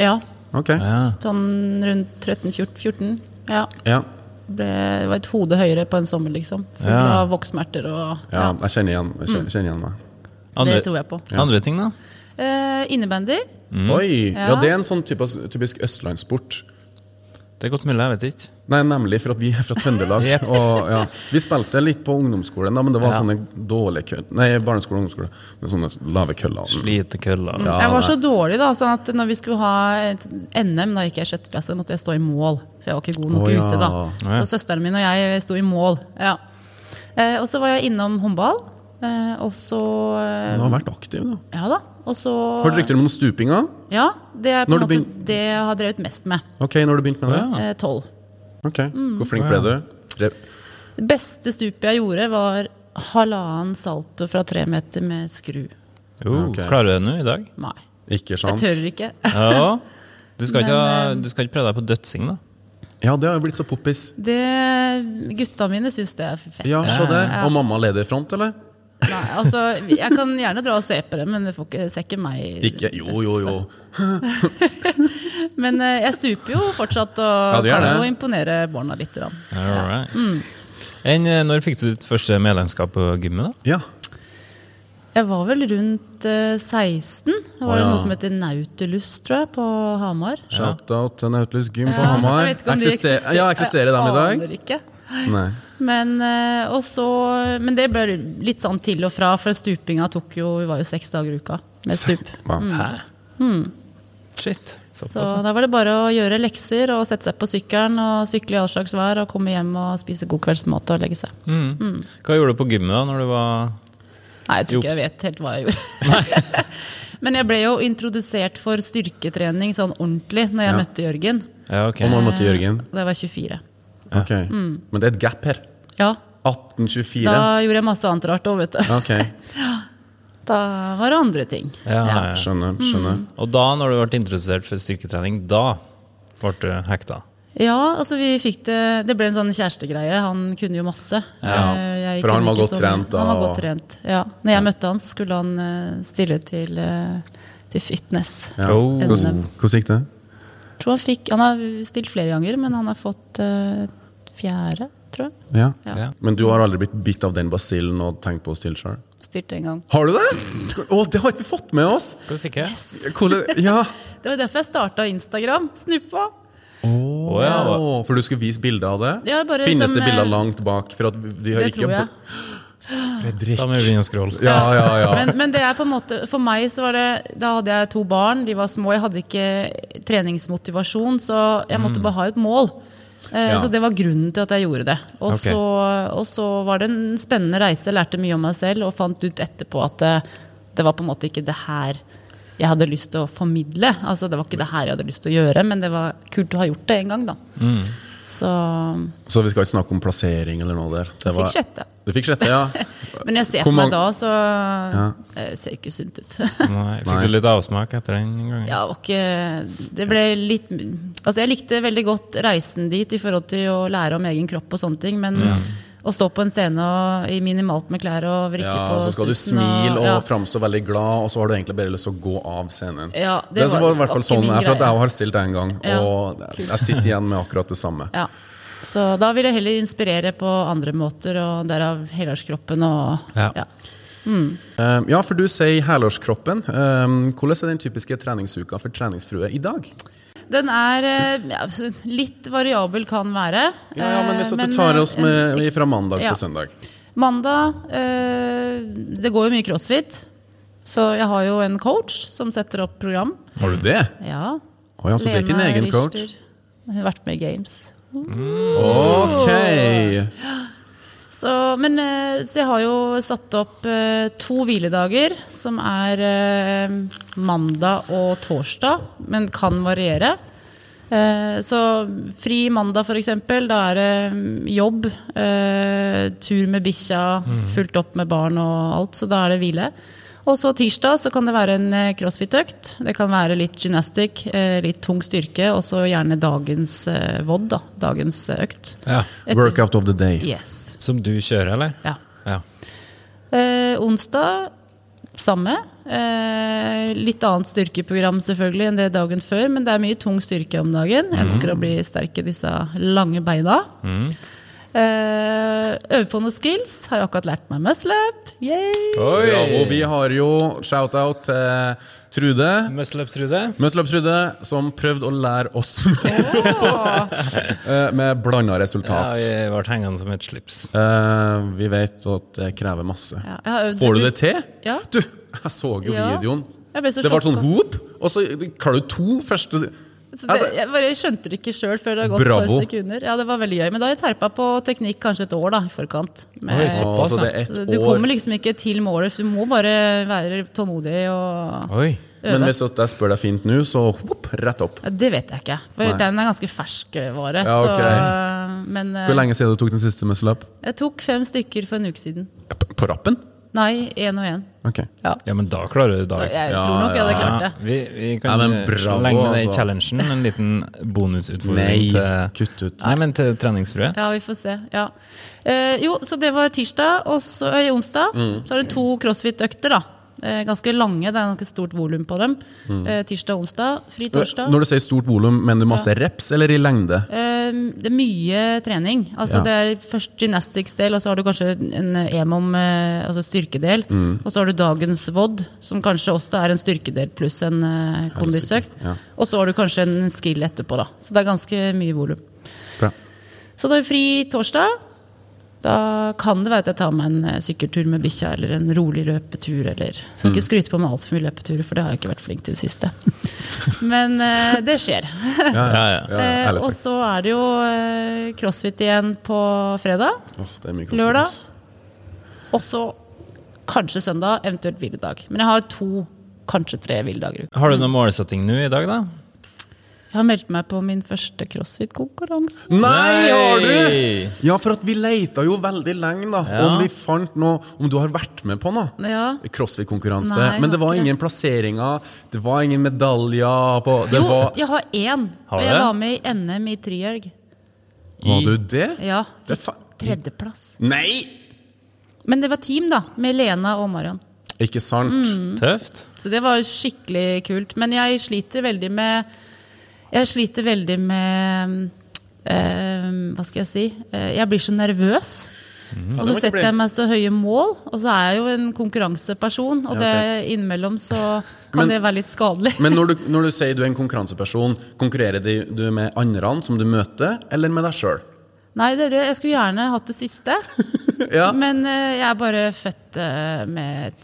[SPEAKER 2] Ja,
[SPEAKER 3] Ok.
[SPEAKER 4] Ja.
[SPEAKER 2] Sånn rundt 13-14. Ja.
[SPEAKER 3] Ja.
[SPEAKER 2] ble, det var et hode høyere på en sommer, liksom. Full
[SPEAKER 4] Ja.
[SPEAKER 2] av vokssmerter og
[SPEAKER 3] Ja, jeg kjenner igjen, jeg
[SPEAKER 2] Mm.
[SPEAKER 3] kjenner, kjenner igjen meg.
[SPEAKER 4] Andre,
[SPEAKER 2] Det tror jeg på.
[SPEAKER 4] andre ting, da?
[SPEAKER 2] Eh, innebandy.
[SPEAKER 4] Mm.
[SPEAKER 3] Oi! Ja.
[SPEAKER 2] Ja.
[SPEAKER 3] det er en sånn typisk, typisk østlandssport.
[SPEAKER 4] Det er godt mulig, jeg vet ikke.
[SPEAKER 3] Nei, nemlig for at vi er fra Trøndelag.
[SPEAKER 4] Yep.
[SPEAKER 3] og, ja. Vi spilte litt på ungdomsskolen, da, men det var
[SPEAKER 4] Ja.
[SPEAKER 3] sånne dårlige køller Nei, barneskole og ungdomsskole. Med sånne lave køller.
[SPEAKER 4] Slitekøller.
[SPEAKER 3] Ja,
[SPEAKER 2] jeg var
[SPEAKER 3] nei.
[SPEAKER 2] så dårlig, da, sånn at når vi skulle ha et NM, da gikk jeg i sjette klasse, måtte jeg stå i mål. For jeg var ikke god nok
[SPEAKER 3] Å, ja.
[SPEAKER 2] ute, da.
[SPEAKER 4] Ja.
[SPEAKER 2] Så søsteren min og jeg sto i mål. Ja. Eh, og så var jeg innom håndball. Eh, og så eh,
[SPEAKER 3] Du har vært aktiv, da.
[SPEAKER 2] Ja da. Og så
[SPEAKER 3] Har du rykter om noen stupinger?
[SPEAKER 2] Ja, det er på
[SPEAKER 3] Når
[SPEAKER 2] en
[SPEAKER 3] du
[SPEAKER 2] måte det jeg har drevet mest med.
[SPEAKER 3] Ok, når du begynte med det?
[SPEAKER 4] Ja.
[SPEAKER 2] Eh, Tolv.
[SPEAKER 3] Ok,
[SPEAKER 2] Mm.
[SPEAKER 3] Hvor flink ble du? Drev-
[SPEAKER 2] Det beste stupet jeg gjorde, var halvannen salto fra tre meter med skru.
[SPEAKER 4] Jo,
[SPEAKER 3] Ok.
[SPEAKER 4] Klarer du det nå i dag?
[SPEAKER 2] Nei.
[SPEAKER 3] Ikke
[SPEAKER 2] Jeg
[SPEAKER 3] sjans.
[SPEAKER 2] tør ikke.
[SPEAKER 4] Ja. Du skal, ikke,
[SPEAKER 2] Men, eh,
[SPEAKER 4] ha- du skal ikke prøve deg på dødsing, da?
[SPEAKER 3] Ja, det har jo blitt så poppis.
[SPEAKER 2] Det, gutta mine syns det er fett.
[SPEAKER 3] Ja, se der. Og mamma leder i front, eller?
[SPEAKER 2] Nei, altså, jeg kan gjerne dra og se på det, men det får ikke, ser ikke meg
[SPEAKER 3] Ikke? Jo, jo, jo.
[SPEAKER 2] Men eh, jeg stuper jo fortsatt
[SPEAKER 3] Ja,
[SPEAKER 2] og
[SPEAKER 3] du gjør
[SPEAKER 2] kan
[SPEAKER 3] det.
[SPEAKER 2] jo imponere barna litt. grann.
[SPEAKER 4] All right.
[SPEAKER 2] Mm.
[SPEAKER 4] Enn, eh, når fikk du ditt første medlemskap på gymmet? da?
[SPEAKER 3] Ja.
[SPEAKER 2] Jeg var vel rundt eh, 16. Da
[SPEAKER 3] Å,
[SPEAKER 2] var det
[SPEAKER 3] ja.
[SPEAKER 2] noe som heter Nautilus, tror jeg, på Hamar.
[SPEAKER 3] Shout-out til Nautilus Gym på Hamar.
[SPEAKER 2] Jeg vet ikke om de
[SPEAKER 3] Eksister- Ja, eksisterer de i
[SPEAKER 2] Jeg
[SPEAKER 3] dag?
[SPEAKER 2] aner ikke.
[SPEAKER 3] Nei.
[SPEAKER 2] Men, eh, og så- men det ble litt sånn til og fra, for stupinga tok jo Vi var jo seks dager i uka med stup. Mm.
[SPEAKER 3] Wow.
[SPEAKER 4] Hæ? Shit. Såpass.
[SPEAKER 2] Så
[SPEAKER 4] ja.
[SPEAKER 2] da var det bare å gjøre lekser og sette seg på sykkelen og sykle i all slags vær og komme hjem og spise god kveldsmat og legge seg.
[SPEAKER 3] Hm.
[SPEAKER 4] Mm. Hva gjorde du på gymmet da når du var
[SPEAKER 2] Nei, jeg tror ikke
[SPEAKER 4] Jops.
[SPEAKER 2] jeg vet helt hva jeg gjorde. men jeg ble jo introdusert for styrketrening sånn ordentlig når jeg
[SPEAKER 3] Ja.
[SPEAKER 2] møtte Jørgen. Eh,
[SPEAKER 4] Ja, ok.
[SPEAKER 3] Og når måtte Jørgen?
[SPEAKER 2] Da jeg var 24.
[SPEAKER 3] Ok. Men det er et gap her.
[SPEAKER 2] Ja,
[SPEAKER 3] 1824.
[SPEAKER 2] Mm. da gjorde jeg masse annet rart òg, vet du.
[SPEAKER 3] Ok,
[SPEAKER 2] Da var det andre ting.
[SPEAKER 4] Ja, ja, ja.
[SPEAKER 3] skjønner.
[SPEAKER 2] Mm.
[SPEAKER 3] skjønner.
[SPEAKER 4] Og da, når du ble introdusert for styrketrening, da ble du hekta?
[SPEAKER 2] Ja, altså vi fikk det Det ble en sånn kjærestegreie. Han kunne jo masse.
[SPEAKER 3] Ja,
[SPEAKER 2] Eh, jeg
[SPEAKER 3] for han
[SPEAKER 2] kunne
[SPEAKER 3] var
[SPEAKER 2] ikke
[SPEAKER 3] godt
[SPEAKER 2] så mye.
[SPEAKER 3] trent da,
[SPEAKER 2] Han var
[SPEAKER 3] og-
[SPEAKER 2] godt trent, ja. Når jeg møtte han, så skulle han eh, stille til, eh, til fitness.
[SPEAKER 3] Ja.
[SPEAKER 4] Oh.
[SPEAKER 3] Hvordan, hvordan gikk det?
[SPEAKER 2] Jeg tror han fikk Han har stilt flere ganger, men han har fått eh, fjerde, tror jeg.
[SPEAKER 3] Ja.
[SPEAKER 2] Ja.
[SPEAKER 4] Ja.
[SPEAKER 3] Men du har aldri blitt bitt av den basillen og tenkt på å stille sjøl?
[SPEAKER 2] Stilt en gang.
[SPEAKER 3] Har du det?! Å, det har ikke vi fått med oss!
[SPEAKER 4] Skal du sikre?
[SPEAKER 3] Hvordan, ja.
[SPEAKER 2] Det var derfor jeg starta Instagram. Snuppa!
[SPEAKER 4] Å, ja.
[SPEAKER 3] Å, for du skulle vise bilder av det?
[SPEAKER 2] Ja, bare
[SPEAKER 3] Finnes
[SPEAKER 2] som,
[SPEAKER 3] det bilder
[SPEAKER 2] eh,
[SPEAKER 3] langt bak? For at de har
[SPEAKER 2] Det
[SPEAKER 3] ikke
[SPEAKER 2] tror jeg.
[SPEAKER 3] Fredrik.
[SPEAKER 4] Da må vi begynne å scrolle.
[SPEAKER 3] Ja, ja, ja.
[SPEAKER 2] Men, men det er på en måte For meg så var det Da hadde jeg to barn, de var små, jeg hadde ikke treningsmotivasjon, så jeg måtte bare ha et mål. Eh,
[SPEAKER 3] Mm. Ja.
[SPEAKER 2] Så det var grunnen til at jeg gjorde det. Og,
[SPEAKER 4] Ok.
[SPEAKER 2] så, og så var det en spennende reise, jeg lærte mye om meg selv og fant ut etterpå at det, det var på en måte ikke det her jeg hadde lyst til å formidle. Altså Det var ikke det her jeg hadde lyst til å gjøre, men det var kult å ha gjort det en gang, da.
[SPEAKER 3] Mm.
[SPEAKER 2] Så
[SPEAKER 3] Så vi skal ikke snakke om plassering eller noe der. Det
[SPEAKER 2] jeg
[SPEAKER 3] var-
[SPEAKER 2] fikk sjette.
[SPEAKER 3] Du fikk sjette, ja.
[SPEAKER 2] Men jeg ser
[SPEAKER 3] Hvor
[SPEAKER 2] på
[SPEAKER 3] mange-
[SPEAKER 2] meg da, så
[SPEAKER 3] Ja.
[SPEAKER 2] eh, ser ikke sunt ut.
[SPEAKER 4] Nei, fikk du litt avsmak etter den gangen?
[SPEAKER 2] Ja, det var ikke, det ble litt Altså, jeg likte veldig godt reisen dit i forhold til å lære om egen kropp og sånne ting, men å stå på en scene og, i minimalt med klær og vrikke
[SPEAKER 3] ja
[SPEAKER 2] på
[SPEAKER 3] så skal du
[SPEAKER 2] stussen
[SPEAKER 3] smile og
[SPEAKER 2] ja.
[SPEAKER 3] framstå veldig glad, og så har du egentlig bare lyst til å gå av scenen.
[SPEAKER 2] Ja,
[SPEAKER 3] det,
[SPEAKER 2] det
[SPEAKER 3] som
[SPEAKER 2] var-
[SPEAKER 3] var i hvert fall
[SPEAKER 2] var ikke
[SPEAKER 3] sånn
[SPEAKER 2] min
[SPEAKER 3] er, for at
[SPEAKER 2] greie.
[SPEAKER 3] jeg har stilt det en gang,
[SPEAKER 2] Ja.
[SPEAKER 3] og jeg sitter igjen med akkurat det samme.
[SPEAKER 2] ja. Så da vil jeg heller inspirere på andre måter, og derav helårskroppen og
[SPEAKER 4] Ja.
[SPEAKER 2] ja.
[SPEAKER 3] Um, Ja, for du sier helårskroppen. Um, Hvordan er den typiske treningsuka for treningsfrue i dag?
[SPEAKER 2] Den er eh, ja, litt variabel kan være.
[SPEAKER 3] Ja, ja, men
[SPEAKER 2] eh,
[SPEAKER 3] hvis at du tar oss
[SPEAKER 2] en
[SPEAKER 3] med,
[SPEAKER 2] ek-
[SPEAKER 3] fra mandag
[SPEAKER 2] ja.
[SPEAKER 3] til søndag.
[SPEAKER 2] Mandag eh, Det går jo mye crossfit, så jeg har jo en coach som setter opp program.
[SPEAKER 3] Har du det?
[SPEAKER 2] Ja.
[SPEAKER 3] Å ja, så det er ikke en egen coach?
[SPEAKER 2] Richter. Hun har vært med i Games.
[SPEAKER 3] Ok!
[SPEAKER 2] Så, men, eh, så jeg har jo satt opp eh, to hviledager, som er eh, mandag og torsdag, men kan variere. Eh, Så fri mandag, f.eks. Da er det mm, jobb, eh, tur med bikkja, fulgt opp med barn og alt. Så da er det hvile. Og så tirsdag så kan det være en eh, crossfit-økt. Det kan være litt gymnastikk, eh, litt tung styrke, og så gjerne dagens eh, vod, da. Dagens eh, økt.
[SPEAKER 4] Ja.
[SPEAKER 2] Etter-
[SPEAKER 3] Workout of the day.
[SPEAKER 2] Yes.
[SPEAKER 4] Som du kjører, eller?
[SPEAKER 2] Ja.
[SPEAKER 4] Ja.
[SPEAKER 2] Eh, onsdag samme. Eh, litt annet styrkeprogram selvfølgelig enn det dagen før, men det er mye tung styrke om dagen.
[SPEAKER 3] Mhm.
[SPEAKER 2] Ønsker å bli sterk i disse lange beina. Eh, øver på noen skills. Har jo akkurat lært meg muscle up. Yay!
[SPEAKER 4] Oi!
[SPEAKER 3] Ja, og vi har jo shout-out til Trude.
[SPEAKER 4] Muscle up, Trude.
[SPEAKER 3] Muscle Up Trude, som prøvde å lære oss eh, med blanda
[SPEAKER 4] Ja,
[SPEAKER 3] resultat.
[SPEAKER 4] vi ble hengende som et slips.
[SPEAKER 3] Eh, vi vet at det krever masse.
[SPEAKER 2] Ja, jeg har øvd
[SPEAKER 3] Får du det til?
[SPEAKER 2] Ja.
[SPEAKER 3] Du, jeg så jo
[SPEAKER 2] Ja.
[SPEAKER 3] videoen.
[SPEAKER 2] Jeg ble så
[SPEAKER 3] Det var sånn
[SPEAKER 2] sjokka.
[SPEAKER 3] whoop, og så klarer du to første
[SPEAKER 2] Så det,
[SPEAKER 3] altså,
[SPEAKER 2] jeg bare skjønte det ikke sjøl før det har gått et
[SPEAKER 3] Bravo.
[SPEAKER 2] par sekunder. Ja, det var veldig gøy. Men da har jeg terpa på teknikk kanskje et år da, i forkant. Med,
[SPEAKER 4] Oi, så-
[SPEAKER 3] altså, det er ett
[SPEAKER 2] så du
[SPEAKER 3] år.
[SPEAKER 2] kommer liksom ikke til målet, for du må bare være tålmodig og
[SPEAKER 4] Oi.
[SPEAKER 3] Men hvis at jeg spør deg fint nå, så whoop, rett opp.
[SPEAKER 2] Ja, Det vet jeg ikke. For
[SPEAKER 3] Nei.
[SPEAKER 2] den er ganske fersk vare.
[SPEAKER 3] Ja, ok.
[SPEAKER 2] så, men eh,
[SPEAKER 3] Hvor lenge siden du tok den siste muscle up?
[SPEAKER 2] jeg tok fem stykker for en uke siden.
[SPEAKER 3] Ja, p- På rappen?
[SPEAKER 2] Nei, én og én.
[SPEAKER 3] Ok.
[SPEAKER 2] Ja.
[SPEAKER 4] Ja, men da klarer du
[SPEAKER 2] Så
[SPEAKER 4] dag.
[SPEAKER 2] jeg
[SPEAKER 3] Ja,
[SPEAKER 2] tror nok jeg hadde klart det.
[SPEAKER 4] vi, vi
[SPEAKER 3] Ja,
[SPEAKER 4] kan
[SPEAKER 3] men
[SPEAKER 4] eh,
[SPEAKER 3] bravo,
[SPEAKER 4] slenge med det i
[SPEAKER 3] altså.
[SPEAKER 4] challengen. En liten
[SPEAKER 3] Nei,
[SPEAKER 4] bonusutfordring til
[SPEAKER 3] kutt ut.
[SPEAKER 4] Nei, men til treningsfrue.
[SPEAKER 2] Ja, vi får se. Ja. Eh, jo, så det var tirsdag, og så eh, onsdag.
[SPEAKER 3] Mm.
[SPEAKER 2] Så er det to crossfit-økter, da. Eh, ganske lange, det er ganske stort volum på dem.
[SPEAKER 3] Mm.
[SPEAKER 2] Eh, tirsdag og onsdag. Fri torsdag.
[SPEAKER 3] Når du sier stort volum, mener du masse reps eller i lengde?
[SPEAKER 2] Eh, det er mye trening. Altså
[SPEAKER 3] Ja.
[SPEAKER 2] Det er først gymnastics-del, og så har du kanskje en EMOM, eh, altså styrkedel.
[SPEAKER 3] Mm.
[SPEAKER 2] Og så har du dagens VOD, som kanskje også er en styrkedel pluss en eh, kondisøkt.
[SPEAKER 3] ja.
[SPEAKER 2] Og så har du kanskje en skill etterpå, da. Så det er ganske mye volum.
[SPEAKER 3] Bra.
[SPEAKER 2] Så da er vi fri torsdag. Da kan det være at jeg tar meg en eh, sykkeltur med bikkja eller en rolig løpetur. Eller. Så
[SPEAKER 3] Mm.
[SPEAKER 2] ikke skryte på meg altfor mye løpeturer, for det har jeg ikke vært flink til i det siste. Men eh, det skjer.
[SPEAKER 3] Ja, ja, ja.
[SPEAKER 2] Eh,
[SPEAKER 3] Ærlig
[SPEAKER 2] og
[SPEAKER 3] sagt.
[SPEAKER 2] så er det jo eh, crossfit igjen på fredag.
[SPEAKER 3] Åh, det er mye crossfit,
[SPEAKER 2] Lørdag.
[SPEAKER 3] ass.
[SPEAKER 2] Og så kanskje søndag, eventuelt hviledag. Men jeg har to, kanskje tre hviledager i uka.
[SPEAKER 4] Har du noen målsetting nå i dag, da?
[SPEAKER 2] Jeg har meldt meg på min første crossfit-konkurranse.
[SPEAKER 3] Nei, har
[SPEAKER 4] Nei!
[SPEAKER 3] du? Ja, for at vi leita jo veldig lenge, da.
[SPEAKER 4] Ja.
[SPEAKER 3] Om vi fant noe Om du har vært med på noe?
[SPEAKER 2] Ja.
[SPEAKER 3] Crossfit-konkurranse.
[SPEAKER 2] Nei,
[SPEAKER 3] Men det
[SPEAKER 2] har
[SPEAKER 3] var
[SPEAKER 2] ikke
[SPEAKER 3] ingen plasseringer, det var ingen medaljer på Det
[SPEAKER 2] Jo,
[SPEAKER 3] var
[SPEAKER 2] jeg har én!
[SPEAKER 4] Har
[SPEAKER 2] og
[SPEAKER 4] du
[SPEAKER 2] jeg
[SPEAKER 4] det?
[SPEAKER 2] var med i NM i trielg.
[SPEAKER 3] Var du det?
[SPEAKER 2] Ja,
[SPEAKER 3] Det er
[SPEAKER 2] fikk
[SPEAKER 3] fa-
[SPEAKER 2] tredjeplass.
[SPEAKER 3] Nei!
[SPEAKER 2] Men det var team, da, med Lena og Marion.
[SPEAKER 3] Ikke sant?
[SPEAKER 2] Mm.
[SPEAKER 4] Tøft.
[SPEAKER 2] Så det var skikkelig kult. Men jeg sliter veldig med Jeg sliter veldig med eh, Hva skal jeg si? Eh, jeg blir så nervøs. Og så
[SPEAKER 3] Mhm. må ikke bli.
[SPEAKER 2] setter jeg meg så høye mål, og så er jeg jo en konkurranseperson. Og
[SPEAKER 3] Ja,
[SPEAKER 2] det innimellom så
[SPEAKER 3] Men-
[SPEAKER 2] kan det være litt skadelig.
[SPEAKER 3] Men når du, når du sier du er en konkurranseperson, konkurrerer de- du med andre som du møter, eller med deg sjøl?
[SPEAKER 2] Nei, dere, jeg skulle gjerne hatt det siste.
[SPEAKER 3] Ja.
[SPEAKER 2] Men eh, jeg er bare født eh, med et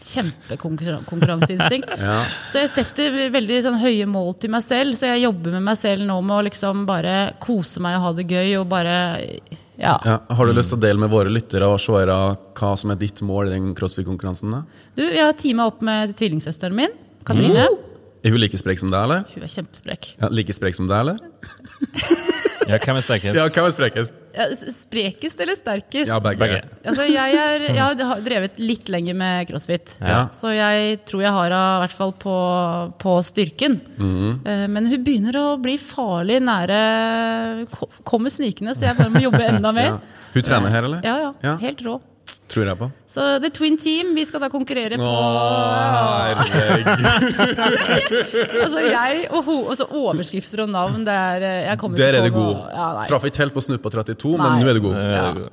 [SPEAKER 2] kjempekonkurranseinstinkt.
[SPEAKER 3] Ja.
[SPEAKER 2] Så jeg setter veldig sånn, høye mål til meg selv. Så jeg jobber med meg selv nå med å liksom bare kose meg og ha det gøy. Og bare ja.
[SPEAKER 3] Ja, har
[SPEAKER 4] Mm.
[SPEAKER 3] du lyst til å dele med våre lyttere og seere hva som er ditt mål i den crossfit-konkurransen? da?
[SPEAKER 2] Du, jeg har teama opp med tvillingsøsteren min, Katrine.
[SPEAKER 3] Er hun like sprek som deg, eller?
[SPEAKER 2] Hun er kjempesprek.
[SPEAKER 3] Ja, like sprek som deg, eller?
[SPEAKER 4] Ja, hvem er sterkest?
[SPEAKER 3] Ja, hvem er sprekest?
[SPEAKER 2] Ja, s- Sprekest eller sterkest?
[SPEAKER 3] Ja, begge.
[SPEAKER 4] Begge.
[SPEAKER 2] Altså, jeg, er, jeg har drevet litt lenger med crossfit,
[SPEAKER 3] Ja.
[SPEAKER 2] så jeg tror jeg har henne i hvert fall på, på styrken.
[SPEAKER 3] Mhm.
[SPEAKER 2] Eh, Men hun begynner å bli farlig nære ko- Kommer snikende, så jeg bare må jobbe enda mer.
[SPEAKER 3] Ja. Hun trener her, eller?
[SPEAKER 2] Ja, ja. Helt rå.
[SPEAKER 3] Tror jeg på.
[SPEAKER 2] Så The Twin Team, vi skal da konkurrere på Altså jeg og hun, altså Overskrifter og navn, det er eh, jeg kommer
[SPEAKER 3] Der
[SPEAKER 2] ikke
[SPEAKER 3] er du
[SPEAKER 2] på noe-
[SPEAKER 3] god.
[SPEAKER 2] Ja, nei.
[SPEAKER 3] Traff ikke helt på snuppa 32,
[SPEAKER 2] Nei.
[SPEAKER 3] men nå er du god.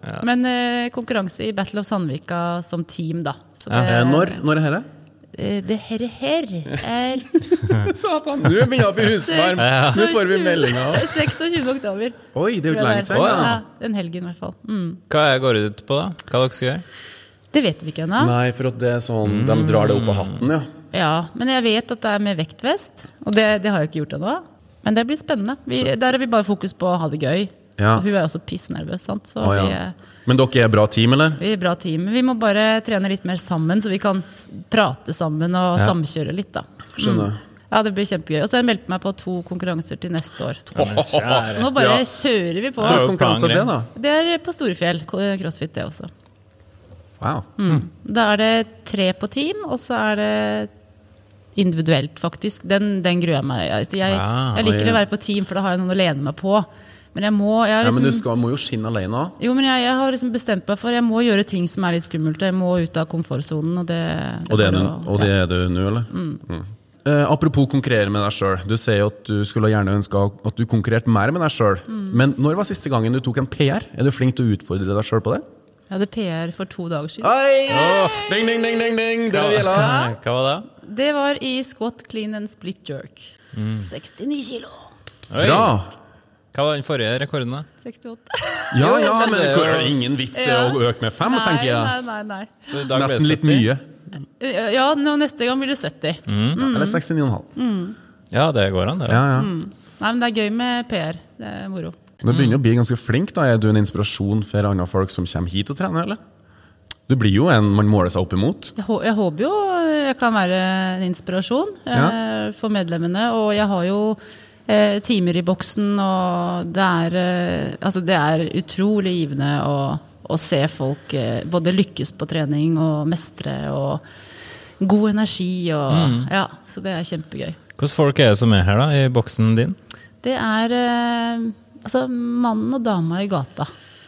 [SPEAKER 2] Ja. Men eh, konkurranse i Battle of Sandvika som team, da. Så
[SPEAKER 3] Eh, når, når er dette?
[SPEAKER 2] Eh, Det her, her er
[SPEAKER 3] Satan, nå begynner jeg å bli rusvarm! Nå får vi meldinger.
[SPEAKER 2] 26. oktober.
[SPEAKER 3] Oi, det er jo ikke lenge til.
[SPEAKER 2] Tror jeg det er.
[SPEAKER 3] da.
[SPEAKER 2] Ja, Den helgen, i hvert fall. Mm.
[SPEAKER 4] Hva går det ut på, da? Hva dere skal gjøre?
[SPEAKER 2] Det vet vi ikke ennå.
[SPEAKER 3] Nei, for at det er sånn De drar det opp av hatten, ja.
[SPEAKER 2] Ja, men jeg vet at det er med vektvest, og det, det har jeg ikke gjort ennå. Men det blir spennende. Vi, der er vi bare fokus på å ha det gøy.
[SPEAKER 3] Ja.
[SPEAKER 2] Og hun er også pissnervøs, sant? så
[SPEAKER 3] Å,
[SPEAKER 2] vi,
[SPEAKER 3] ja.
[SPEAKER 2] er-
[SPEAKER 3] Men dere er bra team, eller?
[SPEAKER 2] vi er bra team. Vi må bare trene litt mer sammen, så vi kan s- prate sammen og samkjøre litt. da. Mm.
[SPEAKER 3] Skjønner.
[SPEAKER 2] Ja, Det blir kjempegøy. Og så har jeg meldt meg på to konkurranser til neste år. Så nå
[SPEAKER 3] Ja.
[SPEAKER 2] bare kjører vi på.
[SPEAKER 4] Ja.
[SPEAKER 3] Hvilken konkurranse er det, da?
[SPEAKER 2] Det er på Storefjell, ko- crossfit det også.
[SPEAKER 3] Wow.
[SPEAKER 2] Mm. Da er det tre på team, og så er det individuelt, faktisk. Den, den gruer jeg meg til. Jeg,
[SPEAKER 4] Ah,
[SPEAKER 2] jeg liker
[SPEAKER 3] oi.
[SPEAKER 2] å være på team, for da har jeg noen å lene meg på. Men jeg må jeg har
[SPEAKER 3] Ja, men du
[SPEAKER 2] liksom,
[SPEAKER 3] skal, må jo skinne alene.
[SPEAKER 2] Jo, men jeg, jeg har liksom bestemt meg for Jeg må gjøre ting som er litt skummelt. Jeg må ut av komfortsonen. Og det,
[SPEAKER 3] Og det er du,
[SPEAKER 2] bare å-
[SPEAKER 3] og det er du nå, eller? Mm. Eh, apropos konkurrere med deg sjøl. Du sier jo at du skulle gjerne ønska at du konkurrerte mer med deg sjøl. Men når var siste gangen du tok en PR? Er du flink til å utfordre deg sjøl på det?
[SPEAKER 2] Jeg hadde PR for to dager siden.
[SPEAKER 3] Oi! Ding, ding, ding, ding, ding! Det er det vi gjelder.
[SPEAKER 4] Hva var det?
[SPEAKER 2] Det var i squat, clean and split jerk.
[SPEAKER 3] Mm.
[SPEAKER 2] 69 kilo.
[SPEAKER 4] Oi,
[SPEAKER 3] Bra!
[SPEAKER 4] Hva var den forrige rekorden, da?
[SPEAKER 2] 68.
[SPEAKER 3] Ja, ja,
[SPEAKER 4] men
[SPEAKER 3] men
[SPEAKER 4] det
[SPEAKER 3] det
[SPEAKER 4] er
[SPEAKER 3] er jo ingen vits i å øke med fem,
[SPEAKER 2] nei,
[SPEAKER 3] tenker jeg.
[SPEAKER 2] nei, nei, nei.
[SPEAKER 4] Så i dag ble det
[SPEAKER 3] Nesten litt
[SPEAKER 4] 70.
[SPEAKER 3] mye.
[SPEAKER 2] Ja, nå, neste gang blir det 70.
[SPEAKER 3] Eller 69,5.
[SPEAKER 4] Ja, det går an, det.
[SPEAKER 3] Ja, ja.
[SPEAKER 2] Nei, men det er gøy med PR. Det er moro.
[SPEAKER 3] Du begynner å bli ganske flink. da Er du en inspirasjon for andre folk som kommer hit og trener? eller? Du blir jo en man måler seg opp imot.
[SPEAKER 2] Jeg, hå- jeg håper jo eh, jeg kan være en inspirasjon eh, for medlemmene. Og jeg har jo eh, timer i boksen, og det er, eh, altså det er utrolig givende å, å se folk eh, både lykkes på trening og mestre og god energi og Ja, så det er kjempegøy.
[SPEAKER 4] Hvilke folk er det som er her, da, i boksen din?
[SPEAKER 2] Det er eh, altså mannen og dama i gata.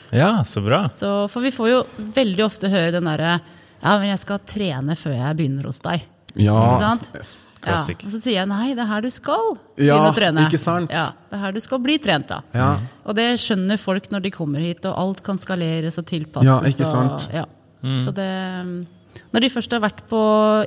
[SPEAKER 4] Ja, så bra.
[SPEAKER 2] Så, for vi får jo veldig ofte høre den derre Ja, men jeg skal trene før jeg begynner hos deg. Ikke
[SPEAKER 3] Ja,
[SPEAKER 2] sant? Ja.
[SPEAKER 4] Klassik.
[SPEAKER 2] Og så sier jeg nei, det er her du skal
[SPEAKER 3] Ja,
[SPEAKER 2] begynne å trene.
[SPEAKER 3] ikke sant?
[SPEAKER 2] Ja, det er her du skal bli trent, da.
[SPEAKER 3] Ja.
[SPEAKER 2] Og det skjønner folk når de kommer hit, og alt kan skaleres og tilpasses.
[SPEAKER 3] Ja, ikke
[SPEAKER 2] og-
[SPEAKER 3] sant?
[SPEAKER 2] ja. Så det, mm. når de først har vært på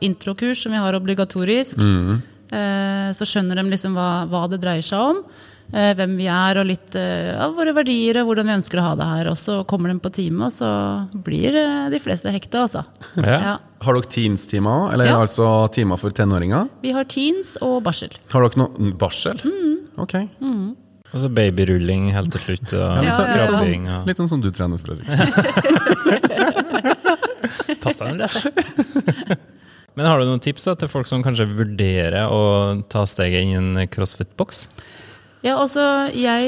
[SPEAKER 2] introkurs, som vi har obligatorisk,
[SPEAKER 3] Mm.
[SPEAKER 2] eh, så skjønner de liksom hva, hva det dreier seg om. Eh, hvem vi er, og litt eh, av våre verdier, og hvordan vi ønsker å ha det her. Og så kommer de på time, og så blir eh, de fleste hekta, altså.
[SPEAKER 4] Ja.
[SPEAKER 3] Har dere teens-timer òg? Eller
[SPEAKER 2] Ja.
[SPEAKER 3] altså timer for tenåringer?
[SPEAKER 2] Vi har teens og barsel.
[SPEAKER 3] Har dere noe barsel?
[SPEAKER 2] Mm.
[SPEAKER 3] Ok.
[SPEAKER 4] Og så Altså babyrulling helt til slutt. Og
[SPEAKER 3] Litt,
[SPEAKER 4] ja,
[SPEAKER 3] sånn, litt, sånn,
[SPEAKER 4] krabbing.
[SPEAKER 3] som-
[SPEAKER 4] Og...
[SPEAKER 3] litt sånn som du trener, Fredrik.
[SPEAKER 4] Men har du noen tips da, til folk som kanskje vurderer å ta steget inn i en crossfit-boks?
[SPEAKER 2] Ja, altså, jeg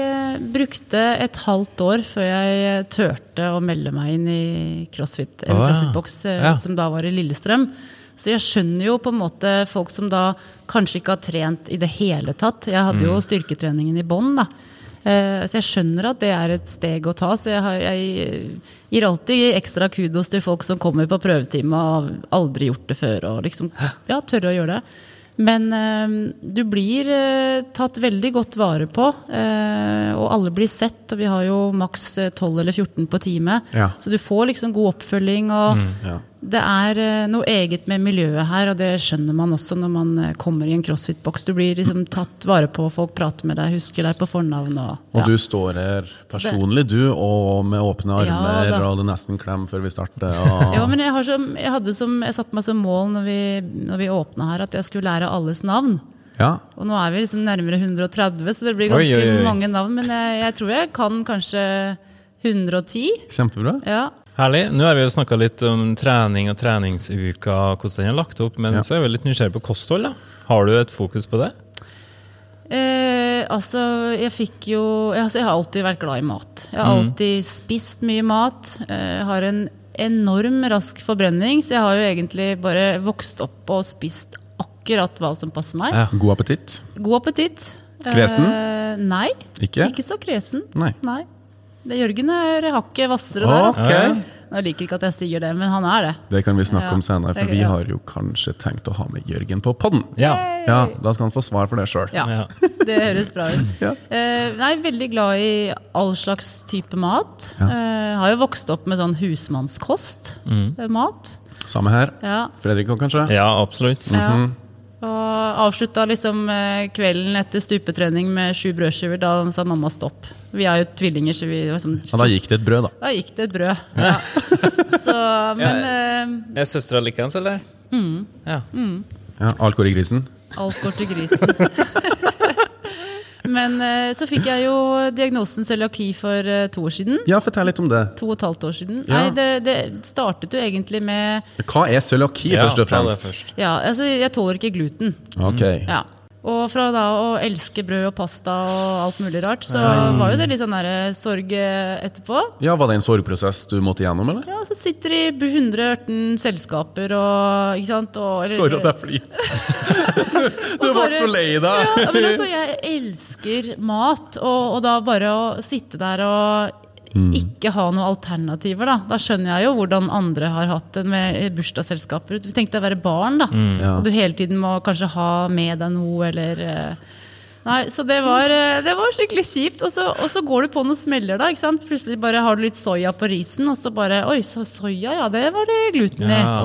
[SPEAKER 2] eh, brukte et halvt år før jeg eh, turte å melde meg inn i CrossFit, eller
[SPEAKER 4] Å, ja.
[SPEAKER 2] CrossFit-boks, eh,
[SPEAKER 4] Ja.
[SPEAKER 2] som da var i Lillestrøm. Så jeg skjønner jo på en måte folk som da kanskje ikke har trent i det hele tatt. Jeg hadde
[SPEAKER 3] Mm.
[SPEAKER 2] jo styrketreningen i bånn, da. Eh, Så jeg skjønner at det er et steg å ta. Så jeg, har, jeg gir alltid ekstra kudos til folk som kommer på prøvetime og har aldri gjort det før, og liksom ja, tørre å gjøre det. Men eh, du blir eh, tatt veldig godt vare på, eh, og alle blir sett. Og vi har jo maks eh, 12 eller 14 på time,
[SPEAKER 3] Ja. Mm,
[SPEAKER 2] så du får liksom god oppfølging. Og
[SPEAKER 3] ja.
[SPEAKER 2] det er eh, noe eget med miljøet her, og det skjønner man også når man eh, kommer i en crossfit-boks. Du blir liksom tatt vare på, folk prater med deg, husker deg på fornavn. Og,
[SPEAKER 3] Og
[SPEAKER 2] ja.
[SPEAKER 3] du står her personlig, du, og med åpne
[SPEAKER 2] Ja,
[SPEAKER 3] armer,
[SPEAKER 2] da.
[SPEAKER 3] og det er nesten klem før vi starter. Og...
[SPEAKER 2] Ja, men jeg, har som, jeg, hadde som, jeg satte meg som mål når vi, når vi åpna her, at jeg skulle lære alles navn.
[SPEAKER 3] Ja.
[SPEAKER 2] Og nå er vi liksom nærmere 130, så det blir ganske
[SPEAKER 4] Oi, oi, oi.
[SPEAKER 2] mange navn. Men jeg, jeg tror jeg kan kanskje 110.
[SPEAKER 3] Kjempebra.
[SPEAKER 2] Ja.
[SPEAKER 4] Herlig. Nå har vi jo snakka litt om trening og treningsuka, og hvordan den er lagt opp, men
[SPEAKER 3] Ja.
[SPEAKER 4] så er vi litt nysgjerrig på kosthold. da. Har du et fokus på det?
[SPEAKER 2] Eh, altså, jeg fikk jo jeg- altså, Jeg har alltid vært glad i mat. Jeg
[SPEAKER 3] Mm.
[SPEAKER 2] har alltid spist mye mat. Eh, har en enorm rask forbrenning, så jeg har jo egentlig bare vokst opp og spist akkurat hva som passer meg.
[SPEAKER 4] Ja.
[SPEAKER 3] God appetitt.
[SPEAKER 2] God appetitt. Eh,
[SPEAKER 3] Kresen?
[SPEAKER 2] nei.
[SPEAKER 3] Ikke?
[SPEAKER 2] Ikke så kresen.
[SPEAKER 3] Nei.
[SPEAKER 2] Det Jørgen er hakket hvassere der. altså.
[SPEAKER 3] Ok.
[SPEAKER 2] Jeg liker ikke at jeg sier det, men han er det.
[SPEAKER 3] Det kan vi snakke
[SPEAKER 2] Ja.
[SPEAKER 3] om senere, for
[SPEAKER 2] Det-
[SPEAKER 3] vi
[SPEAKER 2] ja.
[SPEAKER 3] har jo kanskje tenkt å ha med Jørgen på podden.
[SPEAKER 4] Ja.
[SPEAKER 3] Ja, Da skal han få svar for det sjøl.
[SPEAKER 2] Ja,
[SPEAKER 4] Ja.
[SPEAKER 2] det høres bra ut.
[SPEAKER 3] Ja.
[SPEAKER 2] Eh, nei, veldig glad i all slags type mat.
[SPEAKER 3] Ja.
[SPEAKER 2] Eh, har jo vokst opp med sånn husmannskost.
[SPEAKER 3] Mm.
[SPEAKER 2] eh, Mat.
[SPEAKER 3] Samme her.
[SPEAKER 2] Ja.
[SPEAKER 3] Fredrik òg, kanskje?
[SPEAKER 4] Ja, absolutt.
[SPEAKER 3] Mm.
[SPEAKER 2] ja. Og avslutta liksom eh, kvelden etter stupetrening med sju brødskiver. Da sa mamma stopp. Vi er jo tvillinger, så vi det var sånn,
[SPEAKER 3] Ja, Da gikk det et brød, da.
[SPEAKER 2] Da gikk det et brød. Ja. Så, men eh,
[SPEAKER 4] Er søstera likeens, eller?
[SPEAKER 3] Mm.
[SPEAKER 4] Ja.
[SPEAKER 3] Ja, Alt går i grisen.
[SPEAKER 2] eh, Alt går til grisen. Men eh, så fikk jeg jo diagnosen cøliaki for eh, to år siden.
[SPEAKER 3] Ja, fortell litt om det.
[SPEAKER 2] To og et halvt år siden.
[SPEAKER 3] Ja.
[SPEAKER 2] Nei, det, det startet jo egentlig med
[SPEAKER 3] Hva er cøliaki,
[SPEAKER 4] Ja,
[SPEAKER 3] først og
[SPEAKER 4] ta det
[SPEAKER 3] fremst?
[SPEAKER 4] først.
[SPEAKER 2] Ja, altså jeg tåler ikke gluten.
[SPEAKER 3] Ok.
[SPEAKER 2] Ja. Og Og fra da å elske brød og pasta og alt mulig rart, så var jo det litt sånn der sorg eh, etterpå.
[SPEAKER 3] Ja, Var det en sorgprosess du måtte gjennom, eller?
[SPEAKER 2] Ja, så sitter de i 118 selskaper og ikke sant? Og, eller-
[SPEAKER 3] Sorry at jeg flirer. du
[SPEAKER 2] Og
[SPEAKER 3] ble
[SPEAKER 2] bare-
[SPEAKER 3] så lei deg.
[SPEAKER 2] Ja, men altså, jeg elsker mat, og, og da bare å sitte der og ikke ha noen alternativer, da. Da skjønner jeg jo hvordan andre har hatt det med bursdagsselskaper. Du tenkte å være barn, da.
[SPEAKER 3] Ja.
[SPEAKER 2] Og du hele tiden må kanskje ha med deg noe, eller eh, Nei, så det var, eh, det var skikkelig kjipt. Og så, og så går du på noen smeller, da. ikke sant? Plutselig bare har du litt soya på risen, og så bare Oi, så soya, ja, det var det gluten i.
[SPEAKER 4] Ja.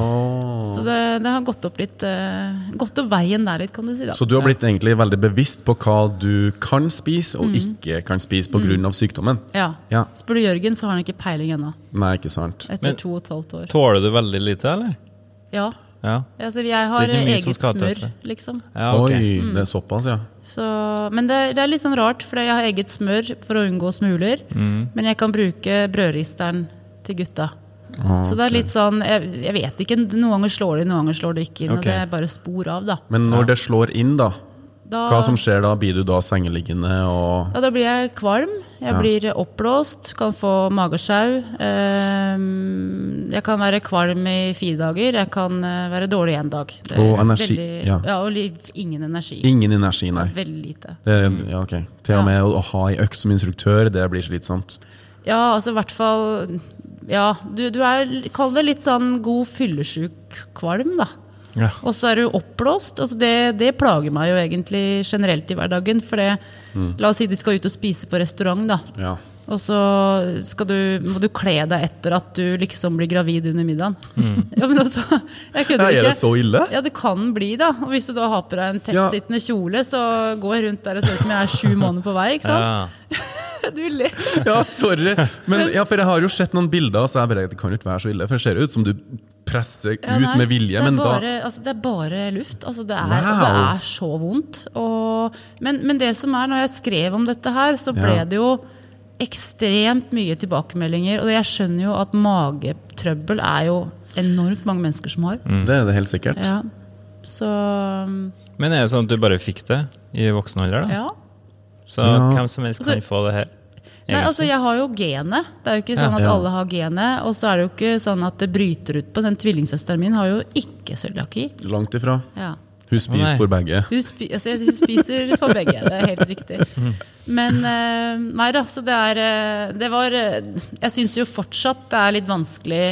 [SPEAKER 2] Så det, det har gått opp litt eh, Gått opp veien der litt, kan du si. da.
[SPEAKER 3] Så du har blitt egentlig veldig bevisst på hva du kan spise og ikke kan spise pga. sykdommen?
[SPEAKER 2] Ja.
[SPEAKER 3] Ja.
[SPEAKER 2] Spør du Jørgen, så har han ikke peiling ennå.
[SPEAKER 3] Nei, ikke sant.
[SPEAKER 2] Etter
[SPEAKER 4] Men-
[SPEAKER 2] to og et halvt år.
[SPEAKER 4] Tåler du veldig lite, eller?
[SPEAKER 2] Ja.
[SPEAKER 4] Ja.
[SPEAKER 2] Altså, jeg har
[SPEAKER 4] Det er ikke mye som
[SPEAKER 2] eget
[SPEAKER 4] skal til
[SPEAKER 2] smør,
[SPEAKER 4] for det.
[SPEAKER 2] liksom.
[SPEAKER 4] ja ok.
[SPEAKER 3] Oi, det er såpass, ja.
[SPEAKER 2] Så, men det, er- det er litt sånn rart, for jeg har eget smør for å unngå smuler.
[SPEAKER 4] Mm.
[SPEAKER 2] Men jeg kan bruke brødristeren til gutta.
[SPEAKER 4] Ah,
[SPEAKER 2] Så det er litt sånn jeg, jeg vet ikke. Noen ganger slår det inn, noen ganger slår det ikke inn.
[SPEAKER 4] Ok.
[SPEAKER 2] Og det er bare spor av, da.
[SPEAKER 3] Men når det slår inn, da,
[SPEAKER 2] Da,
[SPEAKER 3] hva som skjer da? Blir du da sengeliggende og
[SPEAKER 2] ja, da blir jeg kvalm. Jeg blir oppblåst, kan få magesjau. ehm, Jeg kan være kvalm i fire dager. Jeg kan eh, være dårlig én dag. Det er
[SPEAKER 3] Og energi,
[SPEAKER 2] Veldig,
[SPEAKER 3] ja.
[SPEAKER 2] ja. og liv, ingen energi.
[SPEAKER 3] Ingen energi, nei.
[SPEAKER 2] Veldig lite.
[SPEAKER 3] Det, ja, ok. Til og med å å ha ei økt som instruktør, det blir slitsomt.
[SPEAKER 2] Ja, altså i hvert fall Ja, du, du er Kall det litt sånn god fyllesjuk kvalm, da.
[SPEAKER 4] Ja.
[SPEAKER 2] Og så er du oppblåst. Altså det, det plager meg jo egentlig generelt i hverdagen. For det,
[SPEAKER 3] Mm.
[SPEAKER 2] la oss si du skal ut og spise på restaurant, da.
[SPEAKER 3] Ja.
[SPEAKER 2] Og så skal du, må du kle deg etter at du liksom blir gravid under middagen. Ja, men altså, jeg
[SPEAKER 3] Mm.
[SPEAKER 2] kødder
[SPEAKER 3] Ja, er
[SPEAKER 2] ikke.
[SPEAKER 3] det så ille?
[SPEAKER 2] Ja, det kan bli, da. Og hvis du da har på deg en tettsittende kjole, så går jeg rundt der og ser ut som jeg er sju måneder på vei. ikke sant?
[SPEAKER 4] Ja.
[SPEAKER 2] Du ler.
[SPEAKER 3] Ja, sorry! Men, ja, for jeg har jo sett noen bilder, så jeg bare, det kan jo ikke være så ille. For det ser jo ut som du presser
[SPEAKER 2] Ja,
[SPEAKER 3] ut
[SPEAKER 2] nei,
[SPEAKER 3] med vilje,
[SPEAKER 2] det er
[SPEAKER 3] men da
[SPEAKER 2] bare, altså, Det er bare luft. Altså, det, er,
[SPEAKER 3] Wow.
[SPEAKER 2] det er så vondt. Og, men, men det som er, når jeg skrev om dette her, så ble
[SPEAKER 3] Ja.
[SPEAKER 2] det jo ekstremt mye tilbakemeldinger. Og jeg skjønner jo at magetrøbbel er jo enormt mange mennesker som har.
[SPEAKER 3] Mm. Det er det helt sikkert.
[SPEAKER 2] Ja. Så um,
[SPEAKER 4] Men er det sånn at du bare fikk det i voksen alder? da?
[SPEAKER 2] ja.
[SPEAKER 4] Så hvem som helst kan
[SPEAKER 2] Altså-
[SPEAKER 4] få det her?
[SPEAKER 2] Nei,
[SPEAKER 4] egentlig?
[SPEAKER 2] altså Jeg har jo genet. Det er jo ikke sånn at
[SPEAKER 3] Ja.
[SPEAKER 2] alle har genet. Og så er det jo ikke sånn at det bryter ut på. Den tvillingsøsteren min har jo ikke cøliaki.
[SPEAKER 3] Langt ifra.
[SPEAKER 2] Ja.
[SPEAKER 3] Hun spiser
[SPEAKER 4] nei.
[SPEAKER 3] for begge.
[SPEAKER 2] Hun, spi altså, jeg- hun spiser for begge, det er helt riktig. Men eh, nei da, så det er eh, Det var eh, Jeg syns jo fortsatt det er litt vanskelig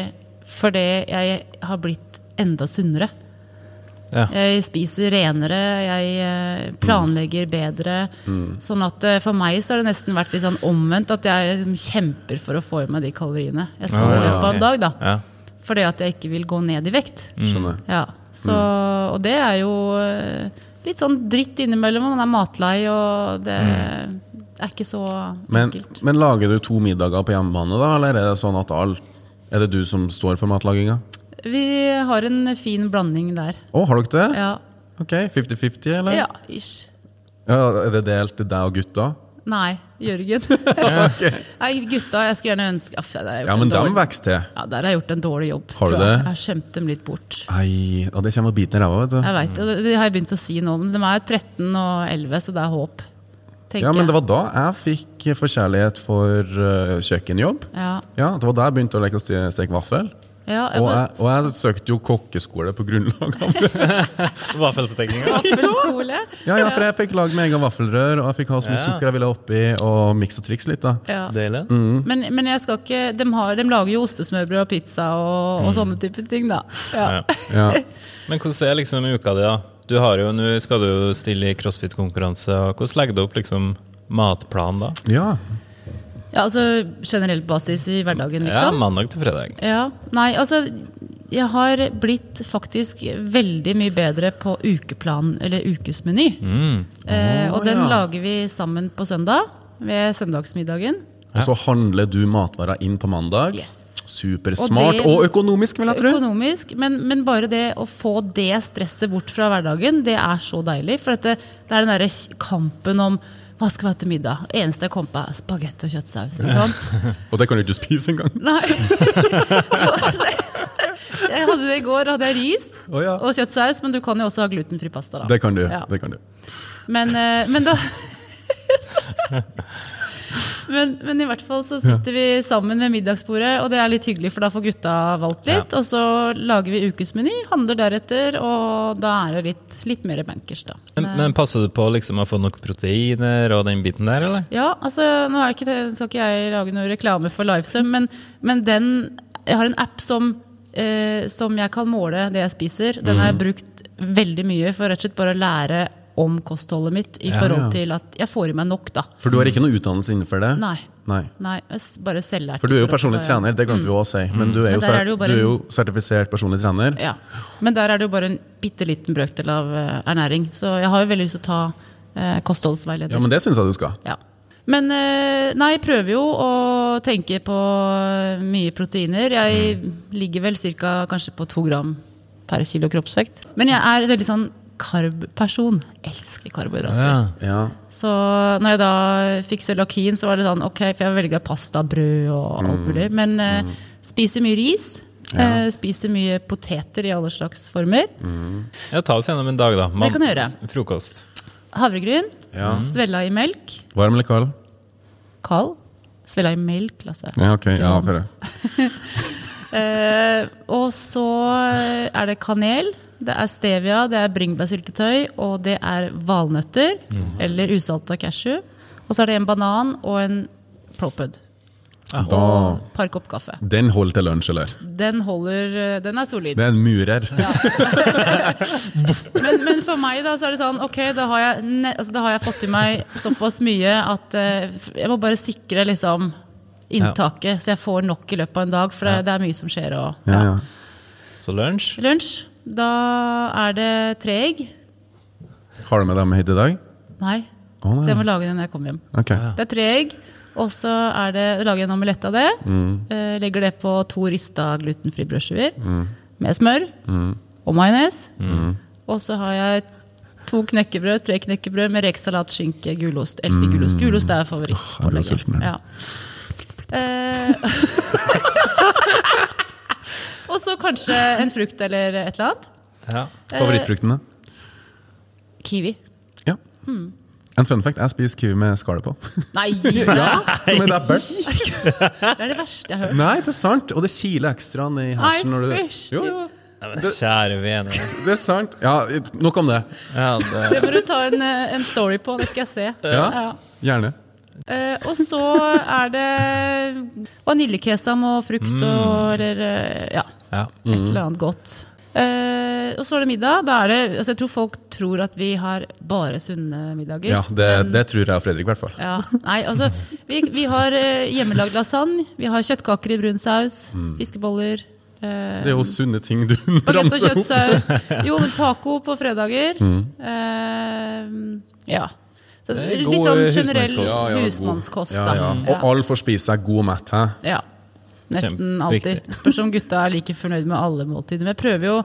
[SPEAKER 2] fordi jeg har blitt enda sunnere.
[SPEAKER 4] Ja.
[SPEAKER 2] Jeg spiser renere, jeg eh, planlegger bedre. Sånn at eh, for meg så har det nesten vært litt sånn omvendt, at jeg liksom kjemper for å få i meg de kaloriene jeg skal
[SPEAKER 4] Ah,
[SPEAKER 2] i løpet
[SPEAKER 4] ja,
[SPEAKER 2] av en dag. da
[SPEAKER 4] Ja. Mm.
[SPEAKER 2] Fordi at jeg ikke vil gå ned i vekt.
[SPEAKER 3] Skjønner.
[SPEAKER 2] Ja, så, Og det er jo eh, litt sånn dritt innimellom. og Man er matlei, og det
[SPEAKER 4] Mm.
[SPEAKER 2] er ikke så
[SPEAKER 3] Men,
[SPEAKER 2] enkelt.
[SPEAKER 3] men lager du to middager på hjemmebane, da, eller er det sånn at all, er det du som står for matlaginga?
[SPEAKER 2] Vi har en fin blanding der.
[SPEAKER 3] Å, har dere det?
[SPEAKER 2] Ja,
[SPEAKER 3] Ok, 50-50, eller?
[SPEAKER 2] ja ish.
[SPEAKER 3] Ja, Er det delt til deg og gutta?
[SPEAKER 2] Nei, Jørgen. Nei, gutta, jeg skulle gjerne ønske Aff, der har jeg gjort
[SPEAKER 3] Ja, men
[SPEAKER 2] en dårlig-
[SPEAKER 3] dem vokser til.
[SPEAKER 2] Ja, der har jeg gjort en dårlig jobb.
[SPEAKER 3] Har du
[SPEAKER 2] tror jeg.
[SPEAKER 3] det?
[SPEAKER 2] Jeg har skjemt dem litt bort.
[SPEAKER 3] Ei, og det kommer å bite i ræva, vet du.
[SPEAKER 2] Jeg vet, og det- Det har jeg begynt å si nå, men de er 13 og 11, så det er håp. Tenker
[SPEAKER 3] Ja, men det
[SPEAKER 2] jeg.
[SPEAKER 3] var da jeg fikk forkjærlighet for eh, kjøkkenjobb.
[SPEAKER 2] Ja,
[SPEAKER 3] Ja, det var da jeg begynte å leke å ste- steke vaffel.
[SPEAKER 2] ja,
[SPEAKER 3] Og
[SPEAKER 2] men-
[SPEAKER 3] jeg, og jeg søkte jo kokkeskole på grunnlag av det.
[SPEAKER 4] Vaffeltekninga?
[SPEAKER 2] Vaffelskole.
[SPEAKER 3] Ja, ja, for jeg fikk lage med egen vaffelrør, og jeg fikk ha så mye
[SPEAKER 4] Ja.
[SPEAKER 3] sukker jeg ville oppi, og miks og triks litt, da.
[SPEAKER 2] Ja.
[SPEAKER 4] Deilig.
[SPEAKER 2] Men, men jeg skal ikke de, har, de lager jo ostesmørbrød og pizza og, og sånne type ting, da. Ja.
[SPEAKER 4] Ja.
[SPEAKER 3] Mm. Ja.
[SPEAKER 4] Men hvordan er liksom uka di, da? Du har jo, Nå skal du jo stille i crossfit-konkurranse. og Hvordan legger du opp liksom matplanen da?
[SPEAKER 3] ja.
[SPEAKER 2] Ja, altså generell basis i hverdagen,
[SPEAKER 4] Ja,
[SPEAKER 2] liksom.
[SPEAKER 4] mandag til fredag.
[SPEAKER 2] Ja. Nei, altså jeg har blitt faktisk veldig mye bedre på ukeplan, eller ukesmeny. Eh, og den
[SPEAKER 3] ja.
[SPEAKER 2] lager vi sammen på søndag, ved søndagsmiddagen.
[SPEAKER 3] Og så handler du matvarer inn på mandag.
[SPEAKER 2] Yes. Og
[SPEAKER 3] Supersmart
[SPEAKER 2] det-
[SPEAKER 3] og, økonomisk, vil jeg tro.
[SPEAKER 2] Økonomisk, men, men bare det å få det stresset bort fra hverdagen, det er så deilig. For at det, det er den derre kj- kampen om hva skal vi ha til middag? Eneste jeg kom på, er spagetti og kjøttsaus. Liksom.
[SPEAKER 3] Og det kan du ikke spise engang.
[SPEAKER 2] Nei. Jo, altså, Jeg hadde det i går, hadde jeg ris
[SPEAKER 3] Å, ja.
[SPEAKER 2] og kjøttsaus, men du kan jo også ha glutenfri pasta. da.
[SPEAKER 3] Det kan du.
[SPEAKER 2] Ja.
[SPEAKER 3] det kan du.
[SPEAKER 2] Men, eh, men da men, men i hvert fall så sitter vi sammen ved middagsbordet, og det er litt hyggelig, for da får gutta valgt litt. Og så lager vi ukesmeny, handler deretter, og da er det litt, litt mer bankers, da.
[SPEAKER 4] Men, men passer du på liksom å få nok proteiner og den biten der, eller?
[SPEAKER 2] Ja, altså, nå er ikke, det- skal ikke jeg lage noe reklame for Livesum, men, men den Jeg har en app som, eh, som jeg kan måle det jeg spiser. Den har jeg
[SPEAKER 3] Mm.
[SPEAKER 2] brukt veldig mye for rett og slett bare å lære om kostholdet mitt i forhold til at jeg får i meg nok, da.
[SPEAKER 3] For du har ikke noe utdannelse innenfor det?
[SPEAKER 2] Nei.
[SPEAKER 3] Nei.
[SPEAKER 2] Nei, jeg s- bare selvlært.
[SPEAKER 3] For du er jo
[SPEAKER 2] i forhold til
[SPEAKER 3] personlig
[SPEAKER 2] hva jeg-
[SPEAKER 3] trener, det glemte vi også å si. Men du er,
[SPEAKER 2] Mm. Men
[SPEAKER 3] jo,
[SPEAKER 2] der
[SPEAKER 3] ser-
[SPEAKER 2] er det jo bare
[SPEAKER 3] du er jo
[SPEAKER 2] en-
[SPEAKER 3] sertifisert personlig trener.
[SPEAKER 2] Ja. Men der er det jo bare en bitte liten brøkdel av eh, ernæring. Så jeg har jo veldig lyst til å ta eh, kostholdsveileder.
[SPEAKER 3] Ja, men det syns jeg du skal.
[SPEAKER 2] Ja. Men eh, nei, jeg prøver jo å tenke på eh, mye proteiner. Jeg ligger vel cirka kanskje på to gram per kilo kroppsvekt. Men jeg er veldig sånn karb-person. Elsker karbohydrater.
[SPEAKER 4] Ja.
[SPEAKER 3] Ja.
[SPEAKER 2] Så når jeg da fikk cøliakin, så var det sånn Ok, for jeg velger pasta, brød og
[SPEAKER 3] Mm.
[SPEAKER 2] alt mulig. Men eh, spiser mye ris. eh, spiser mye poteter i alle slags former.
[SPEAKER 3] Mm.
[SPEAKER 4] ja, ta oss gjennom en dag, da.
[SPEAKER 2] Det kan jeg gjøre.
[SPEAKER 4] Frokost.
[SPEAKER 2] Havregryn.
[SPEAKER 3] Ja.
[SPEAKER 2] Svella i melk.
[SPEAKER 3] Varm eller kald?
[SPEAKER 2] Kald. Svella i melk, altså. Lasse.
[SPEAKER 3] Ja, ok. Ja, for det.
[SPEAKER 2] Eh, og så er det kanel, det er stevia, det er bringebærsyltetøy, og det er valnøtter. Eller usalta cashew. Og så er det en banan og en propud.
[SPEAKER 3] Da,
[SPEAKER 2] Og et par kopp kaffe.
[SPEAKER 3] den holder til lunsj, eller?
[SPEAKER 2] Den holder eh, Den er solid.
[SPEAKER 3] Det er en murer.
[SPEAKER 2] Men, men for meg da så er det sånn Ok, da har jeg, ne altså, da har jeg fått i meg såpass mye at eh, f- jeg må bare sikre liksom inntaket, så jeg får nok i løpet av en dag. For det, det er mye som skjer. Og,
[SPEAKER 3] Ja, ja.
[SPEAKER 4] Så lunsj.
[SPEAKER 2] Lunsj. Da er det tre egg.
[SPEAKER 3] Har du med dem hit i dag?
[SPEAKER 2] Nei.
[SPEAKER 3] Å, nei.
[SPEAKER 2] Så jeg må lage den når jeg kommer hjem.
[SPEAKER 3] Ok.
[SPEAKER 2] Det er tre egg, og så er det, lager jeg en omelett av det.
[SPEAKER 3] Mm.
[SPEAKER 2] Eh, legger det på to rista glutenfri brødskiver
[SPEAKER 3] Mm.
[SPEAKER 2] med smør og majones. Og så har jeg to knekkebrød, tre knekkebrød med rekesalat, skinke, gulost. Elsker gulost. Gulost
[SPEAKER 3] Mm.
[SPEAKER 2] er
[SPEAKER 3] jeg blir
[SPEAKER 2] favorittpålegget.
[SPEAKER 3] sulten, ja.
[SPEAKER 2] Ja. Eh, og så kanskje en frukt eller et eller annet.
[SPEAKER 4] Ja.
[SPEAKER 3] Favorittfruktene?
[SPEAKER 2] Kiwi.
[SPEAKER 3] Ja. hmm. En fun fact, jeg spiser kiwi med skallet på.
[SPEAKER 2] Nei, gir du deg?
[SPEAKER 3] Som et eple.
[SPEAKER 2] det er det verste jeg har hørt.
[SPEAKER 3] Nei, det er sant. Og det kiler ekstra ned i hersen.
[SPEAKER 2] Nei,
[SPEAKER 3] Når du...
[SPEAKER 2] fysj.
[SPEAKER 3] Jo, jo,
[SPEAKER 4] Ja, men kjære vene.
[SPEAKER 3] det er sant. Ja, nok om det.
[SPEAKER 4] Ja, det,
[SPEAKER 2] Det må du ta en, eh, en story på, det skal jeg se.
[SPEAKER 3] Ja, Gjerne.
[SPEAKER 2] Eh, og så er det vaniljekesam og frukt
[SPEAKER 3] Mm.
[SPEAKER 2] og eller eh, ja,
[SPEAKER 4] ja.
[SPEAKER 2] et eller annet godt. Eh, og så er det middag. Da er det, altså jeg tror folk tror at vi har bare sunne middager.
[SPEAKER 3] Ja, det, det tror jeg og Fredrik i hvert fall.
[SPEAKER 2] Ja, nei, altså Vi, vi har eh, hjemmelagd lasagne, vi har kjøttkaker i brun saus,
[SPEAKER 3] Mm.
[SPEAKER 2] fiskeboller eh,
[SPEAKER 3] Det er jo sunne ting du
[SPEAKER 2] Bagett og
[SPEAKER 3] ramser opp.
[SPEAKER 2] kjøttsaus. Jo, men taco på fredager.
[SPEAKER 3] Mm.
[SPEAKER 2] Eh, ja. Så
[SPEAKER 4] Det er
[SPEAKER 2] litt
[SPEAKER 4] god eh,
[SPEAKER 2] sånn generell
[SPEAKER 4] husmannskost.
[SPEAKER 2] husmannskost,
[SPEAKER 3] Ja, ja, god.
[SPEAKER 2] da.
[SPEAKER 3] Ja, ja. Og alle får spise seg god mett. Hæ?
[SPEAKER 2] Ja. Nesten
[SPEAKER 4] Kjempeviktig.
[SPEAKER 2] alltid. Spørs om gutta er like fornøyd med alle måltider. Men jeg prøver jo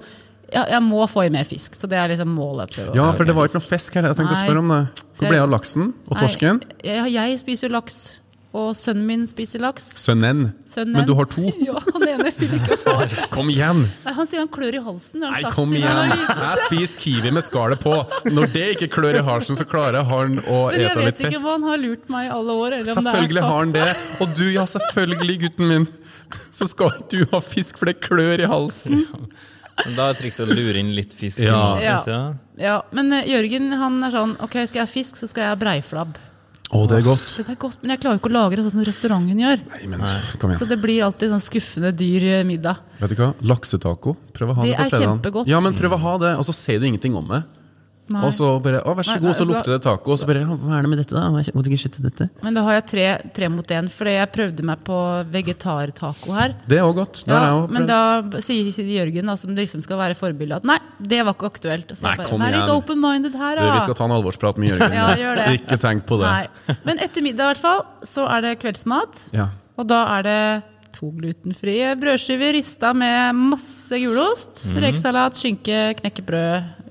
[SPEAKER 2] ja, Jeg må få i mer fisk, så det er liksom målet. jeg prøver å-
[SPEAKER 3] Ja, for det var ikke noe fisk her. Jeg tenkte å
[SPEAKER 2] Nei.
[SPEAKER 3] spørre om det. Hvor ble det av laksen og torsken?
[SPEAKER 2] Nei, jeg, jeg spiser jo laks. Og sønnen min spiser laks.
[SPEAKER 3] Sønnen.
[SPEAKER 2] Sønnen.
[SPEAKER 3] Men du har to.
[SPEAKER 2] Ja, han ene vil ikke ha.
[SPEAKER 3] Kom igjen!
[SPEAKER 2] Nei, Han sier han klør i halsen. det har
[SPEAKER 3] Nei,
[SPEAKER 2] han sagt
[SPEAKER 3] kom
[SPEAKER 2] siden han
[SPEAKER 3] igjen!
[SPEAKER 2] var liten.
[SPEAKER 3] Jeg spiser kiwi med skallet på. Når det ikke klør i halsen, så klarer han å
[SPEAKER 2] Men jeg
[SPEAKER 3] ete
[SPEAKER 2] vet
[SPEAKER 3] litt
[SPEAKER 2] ikke
[SPEAKER 3] fisk.
[SPEAKER 2] om han har lurt meg i alle år. Eller om det er
[SPEAKER 3] Selvfølgelig har
[SPEAKER 2] sant.
[SPEAKER 3] han det. Og du, ja, selvfølgelig, gutten min. Så skal ikke du ha fisk, for det klør i halsen.
[SPEAKER 4] Men Da er trikset å lure inn litt fisk.
[SPEAKER 3] Ja.
[SPEAKER 4] i
[SPEAKER 2] Ja.
[SPEAKER 4] maten, så.
[SPEAKER 2] Ja, men eh, Jørgen han er sånn Ok, skal jeg ha fisk, så skal jeg ha breiflabb.
[SPEAKER 3] Å, det er godt.
[SPEAKER 2] Så det er godt, men jeg klarer jo ikke å lagre sånn som restauranten gjør.
[SPEAKER 3] Nei, men kom
[SPEAKER 2] Så
[SPEAKER 3] igjen.
[SPEAKER 2] det blir alltid sånn skuffende dyr eh, middag.
[SPEAKER 3] Vet du hva? Laksetaco. Prøv å ha det,
[SPEAKER 2] Det
[SPEAKER 3] på
[SPEAKER 2] er
[SPEAKER 3] fredagen.
[SPEAKER 2] kjempegodt.
[SPEAKER 3] Ja, men prøv å ha det, og så sier du ingenting om det.
[SPEAKER 2] Nei.
[SPEAKER 3] Og så bare Å, vær så
[SPEAKER 2] Nei,
[SPEAKER 3] god,
[SPEAKER 2] nei,
[SPEAKER 3] så
[SPEAKER 2] altså,
[SPEAKER 3] lukter det taco. Og så bare «Ja, Hva er det med dette, da? Hva er kjø- Hva er kjøttet i dette?
[SPEAKER 2] Men da har jeg tre, tre mot én, for jeg prøvde meg på vegetartaco her.
[SPEAKER 3] Det er òg godt. Det har jeg
[SPEAKER 2] Ja,
[SPEAKER 3] også
[SPEAKER 2] men
[SPEAKER 3] prøvd.
[SPEAKER 2] da b- sier sier Jørgen, da, som liksom skal være forbilde, at nei, det var ikke aktuelt. Og så
[SPEAKER 3] Nei,
[SPEAKER 2] jeg bare,
[SPEAKER 3] kom
[SPEAKER 2] Vær litt
[SPEAKER 3] igjen.
[SPEAKER 2] open-minded her,
[SPEAKER 3] Du,
[SPEAKER 2] da.
[SPEAKER 3] Vi skal ta en alvorsprat med Jørgen.
[SPEAKER 2] Ja, gjør det.
[SPEAKER 3] Ikke tenk på det.
[SPEAKER 2] Nei. Men etter middag, i hvert fall, så er det kveldsmat.
[SPEAKER 3] Ja.
[SPEAKER 2] Og da er det to glutenfrie brødskiver rista med masse gulost.
[SPEAKER 3] Mhm.
[SPEAKER 2] Rekesalat, skinke, knekkebrød,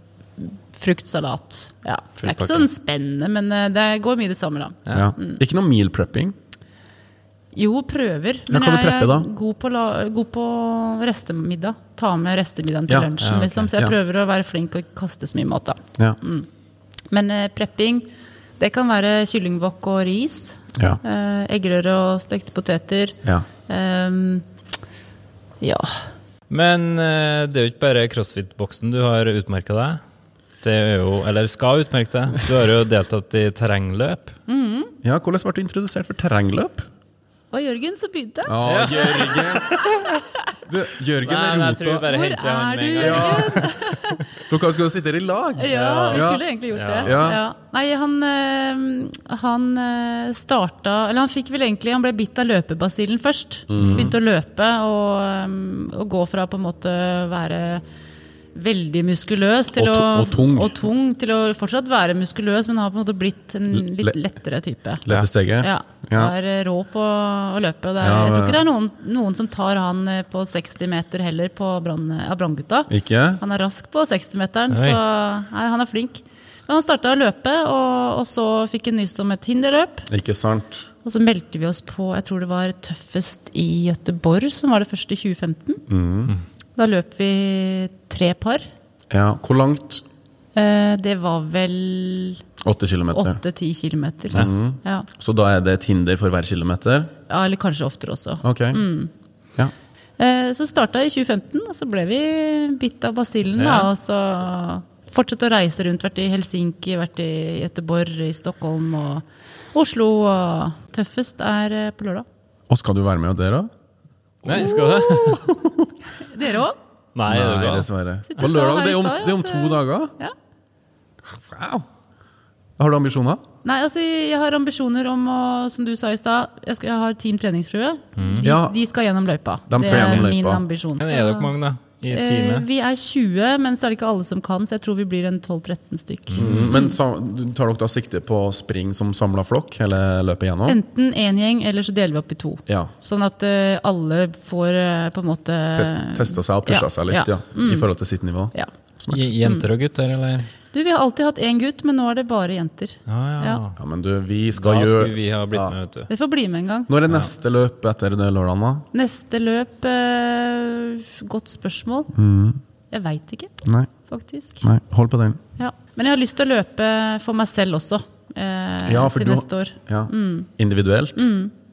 [SPEAKER 2] fruktsalat. Ja. Det er ikke
[SPEAKER 4] pakke.
[SPEAKER 2] sånn spennende, men eh, det går mye det samme, da.
[SPEAKER 3] Ja. Ikke noe meal prepping.
[SPEAKER 2] Jo, prøver.
[SPEAKER 3] Ja, kan du
[SPEAKER 2] jeg
[SPEAKER 3] preppe, da?
[SPEAKER 2] er god på, la, god på restemiddag. Ta med restemiddagen til
[SPEAKER 3] Ja, ja,
[SPEAKER 2] lunsjen,
[SPEAKER 4] ok,
[SPEAKER 2] liksom. Så jeg
[SPEAKER 3] ja.
[SPEAKER 2] prøver å være flink og ikke kaste så mye mat, da.
[SPEAKER 3] Ja.
[SPEAKER 2] Men eh, prepping, det kan være kyllingwok og ris.
[SPEAKER 3] Ja.
[SPEAKER 2] Eh, eggerøre og stekte poteter.
[SPEAKER 3] Ja.
[SPEAKER 2] Ehm, ja.
[SPEAKER 4] Men eh, det er jo ikke bare crossfit-boksen du har utmerka deg. Det er jo, eller skal utmerke deg. Du har jo deltatt i terrengløp.
[SPEAKER 2] Mm.
[SPEAKER 3] ja, hvordan ble du introdusert for terrengløp?
[SPEAKER 2] Og Jørgen, så begynte jeg.
[SPEAKER 3] Ja, Jørgen. Du, Jørgen
[SPEAKER 4] Nei,
[SPEAKER 3] er
[SPEAKER 4] nei, jeg tror vi
[SPEAKER 3] rota.
[SPEAKER 4] bare
[SPEAKER 2] Hvor
[SPEAKER 4] henter han
[SPEAKER 2] er
[SPEAKER 4] med en
[SPEAKER 2] du,
[SPEAKER 4] gang.
[SPEAKER 3] Dere skal jo sitte her i lag.
[SPEAKER 2] Ja, vi
[SPEAKER 3] Ja.
[SPEAKER 2] skulle egentlig gjort det.
[SPEAKER 3] Ja.
[SPEAKER 2] Ja. Nei, han, eh, han eh, starta Eller han fikk vel egentlig Han ble bitt av løpebasillen først.
[SPEAKER 3] Mm.
[SPEAKER 2] Begynte å løpe og, eh, og gå fra på en måte være veldig muskuløs til
[SPEAKER 3] Og
[SPEAKER 2] å,
[SPEAKER 3] tu- og tung.
[SPEAKER 2] og tung til å fortsatt være muskuløs, men har på en måte blitt en litt
[SPEAKER 3] Le-
[SPEAKER 2] lettere type.
[SPEAKER 3] Lette steget.
[SPEAKER 2] Ja.
[SPEAKER 3] Ja.
[SPEAKER 2] Er eh, rå på å løpe. Og det er,
[SPEAKER 3] Ja,
[SPEAKER 2] jeg tror
[SPEAKER 3] det-
[SPEAKER 2] ikke det er noen, noen som tar han eh, på 60 meter heller på brann, av Branngutta.
[SPEAKER 3] Ikke?
[SPEAKER 2] Han er rask på 60-meteren,
[SPEAKER 4] Oi.
[SPEAKER 2] så nei, han er flink. Men han starta å løpe, og, og så fikk han nyss om et hinderløp.
[SPEAKER 3] Ikke sant.
[SPEAKER 2] Og så meldte vi oss på jeg tror det var tøffest i Gøteborg, som var det første i 2015.
[SPEAKER 3] Mm.
[SPEAKER 2] Da løp vi tre par.
[SPEAKER 3] Ja, hvor langt?
[SPEAKER 2] Eh, det var vel
[SPEAKER 3] Åtte kilometer.
[SPEAKER 2] 8-10 km. Ja.
[SPEAKER 3] Så da er det et hinder for hver kilometer?
[SPEAKER 2] ja, eller kanskje oftere også.
[SPEAKER 3] Ok.
[SPEAKER 2] Mm.
[SPEAKER 3] Ja.
[SPEAKER 2] Eh, Så starta i 2015, og så ble vi bitt av basillen. da, Og så fortsatte å reise rundt. Vært i Helsinki, vært i Göteborg, i Stockholm og Oslo. Og tøffest er eh, på lørdag.
[SPEAKER 3] Og skal du være med der òg?
[SPEAKER 4] Nei, skal du?
[SPEAKER 2] Dere òg?
[SPEAKER 4] Nei, det er bra.
[SPEAKER 3] dessverre.
[SPEAKER 2] Synes du
[SPEAKER 3] På
[SPEAKER 2] sa
[SPEAKER 3] lørdag,
[SPEAKER 2] her i
[SPEAKER 3] det er om,
[SPEAKER 2] stad, ja,
[SPEAKER 3] det er om
[SPEAKER 2] at,
[SPEAKER 3] to
[SPEAKER 2] eh,
[SPEAKER 3] dager.
[SPEAKER 2] Ja.
[SPEAKER 3] Wow. Har du ambisjoner?
[SPEAKER 2] Nei, altså jeg har ambisjoner om å, som du sa i stad, jeg, skal- jeg har Team treningsfrue. De,
[SPEAKER 3] Ja.
[SPEAKER 2] de skal gjennom løypa.
[SPEAKER 3] De skal
[SPEAKER 2] det er
[SPEAKER 3] gjennom løypa.
[SPEAKER 2] min ambisjon.
[SPEAKER 4] Men er
[SPEAKER 2] så-
[SPEAKER 4] dere mange, da? I et
[SPEAKER 2] Eh,
[SPEAKER 4] time?
[SPEAKER 2] vi er 20, men så er det ikke alle som kan, så jeg tror vi blir en 12-13 stykk.
[SPEAKER 4] Mm-hmm.
[SPEAKER 3] Men sa- tar dere da sikte på å springe som samla flokk hele løpet gjennom?
[SPEAKER 2] Enten én gjeng, eller så deler vi opp i to.
[SPEAKER 3] Ja.
[SPEAKER 2] Sånn at eh, alle får eh, på en måte
[SPEAKER 3] Test- Testa seg og pusha
[SPEAKER 2] ja,
[SPEAKER 3] seg litt, ja.
[SPEAKER 2] ja. Mm.
[SPEAKER 3] I forhold til sitt nivå.
[SPEAKER 2] Ja.
[SPEAKER 4] J- Jenter og gutter, eller?
[SPEAKER 2] Du, vi har alltid hatt én gutt, men nå er det bare jenter.
[SPEAKER 4] Ah, ja.
[SPEAKER 2] Ja.
[SPEAKER 3] Ja, men du, vi skal
[SPEAKER 4] Da
[SPEAKER 3] gjøre
[SPEAKER 4] skulle vi ha blitt
[SPEAKER 3] Ja.
[SPEAKER 4] med, vet du.
[SPEAKER 2] Dere får bli med en gang.
[SPEAKER 3] Når er neste løp etter det lørdagen, da?
[SPEAKER 2] Neste løp eh, Godt spørsmål.
[SPEAKER 3] Mm.
[SPEAKER 2] Jeg veit ikke,
[SPEAKER 3] Nei,
[SPEAKER 2] faktisk.
[SPEAKER 3] nei, hold på den.
[SPEAKER 2] Ja. Men jeg har lyst til å løpe for meg selv også, eh,
[SPEAKER 3] Ja, for
[SPEAKER 2] til
[SPEAKER 3] du
[SPEAKER 2] neste år. Mm.
[SPEAKER 3] Ja. Individuelt?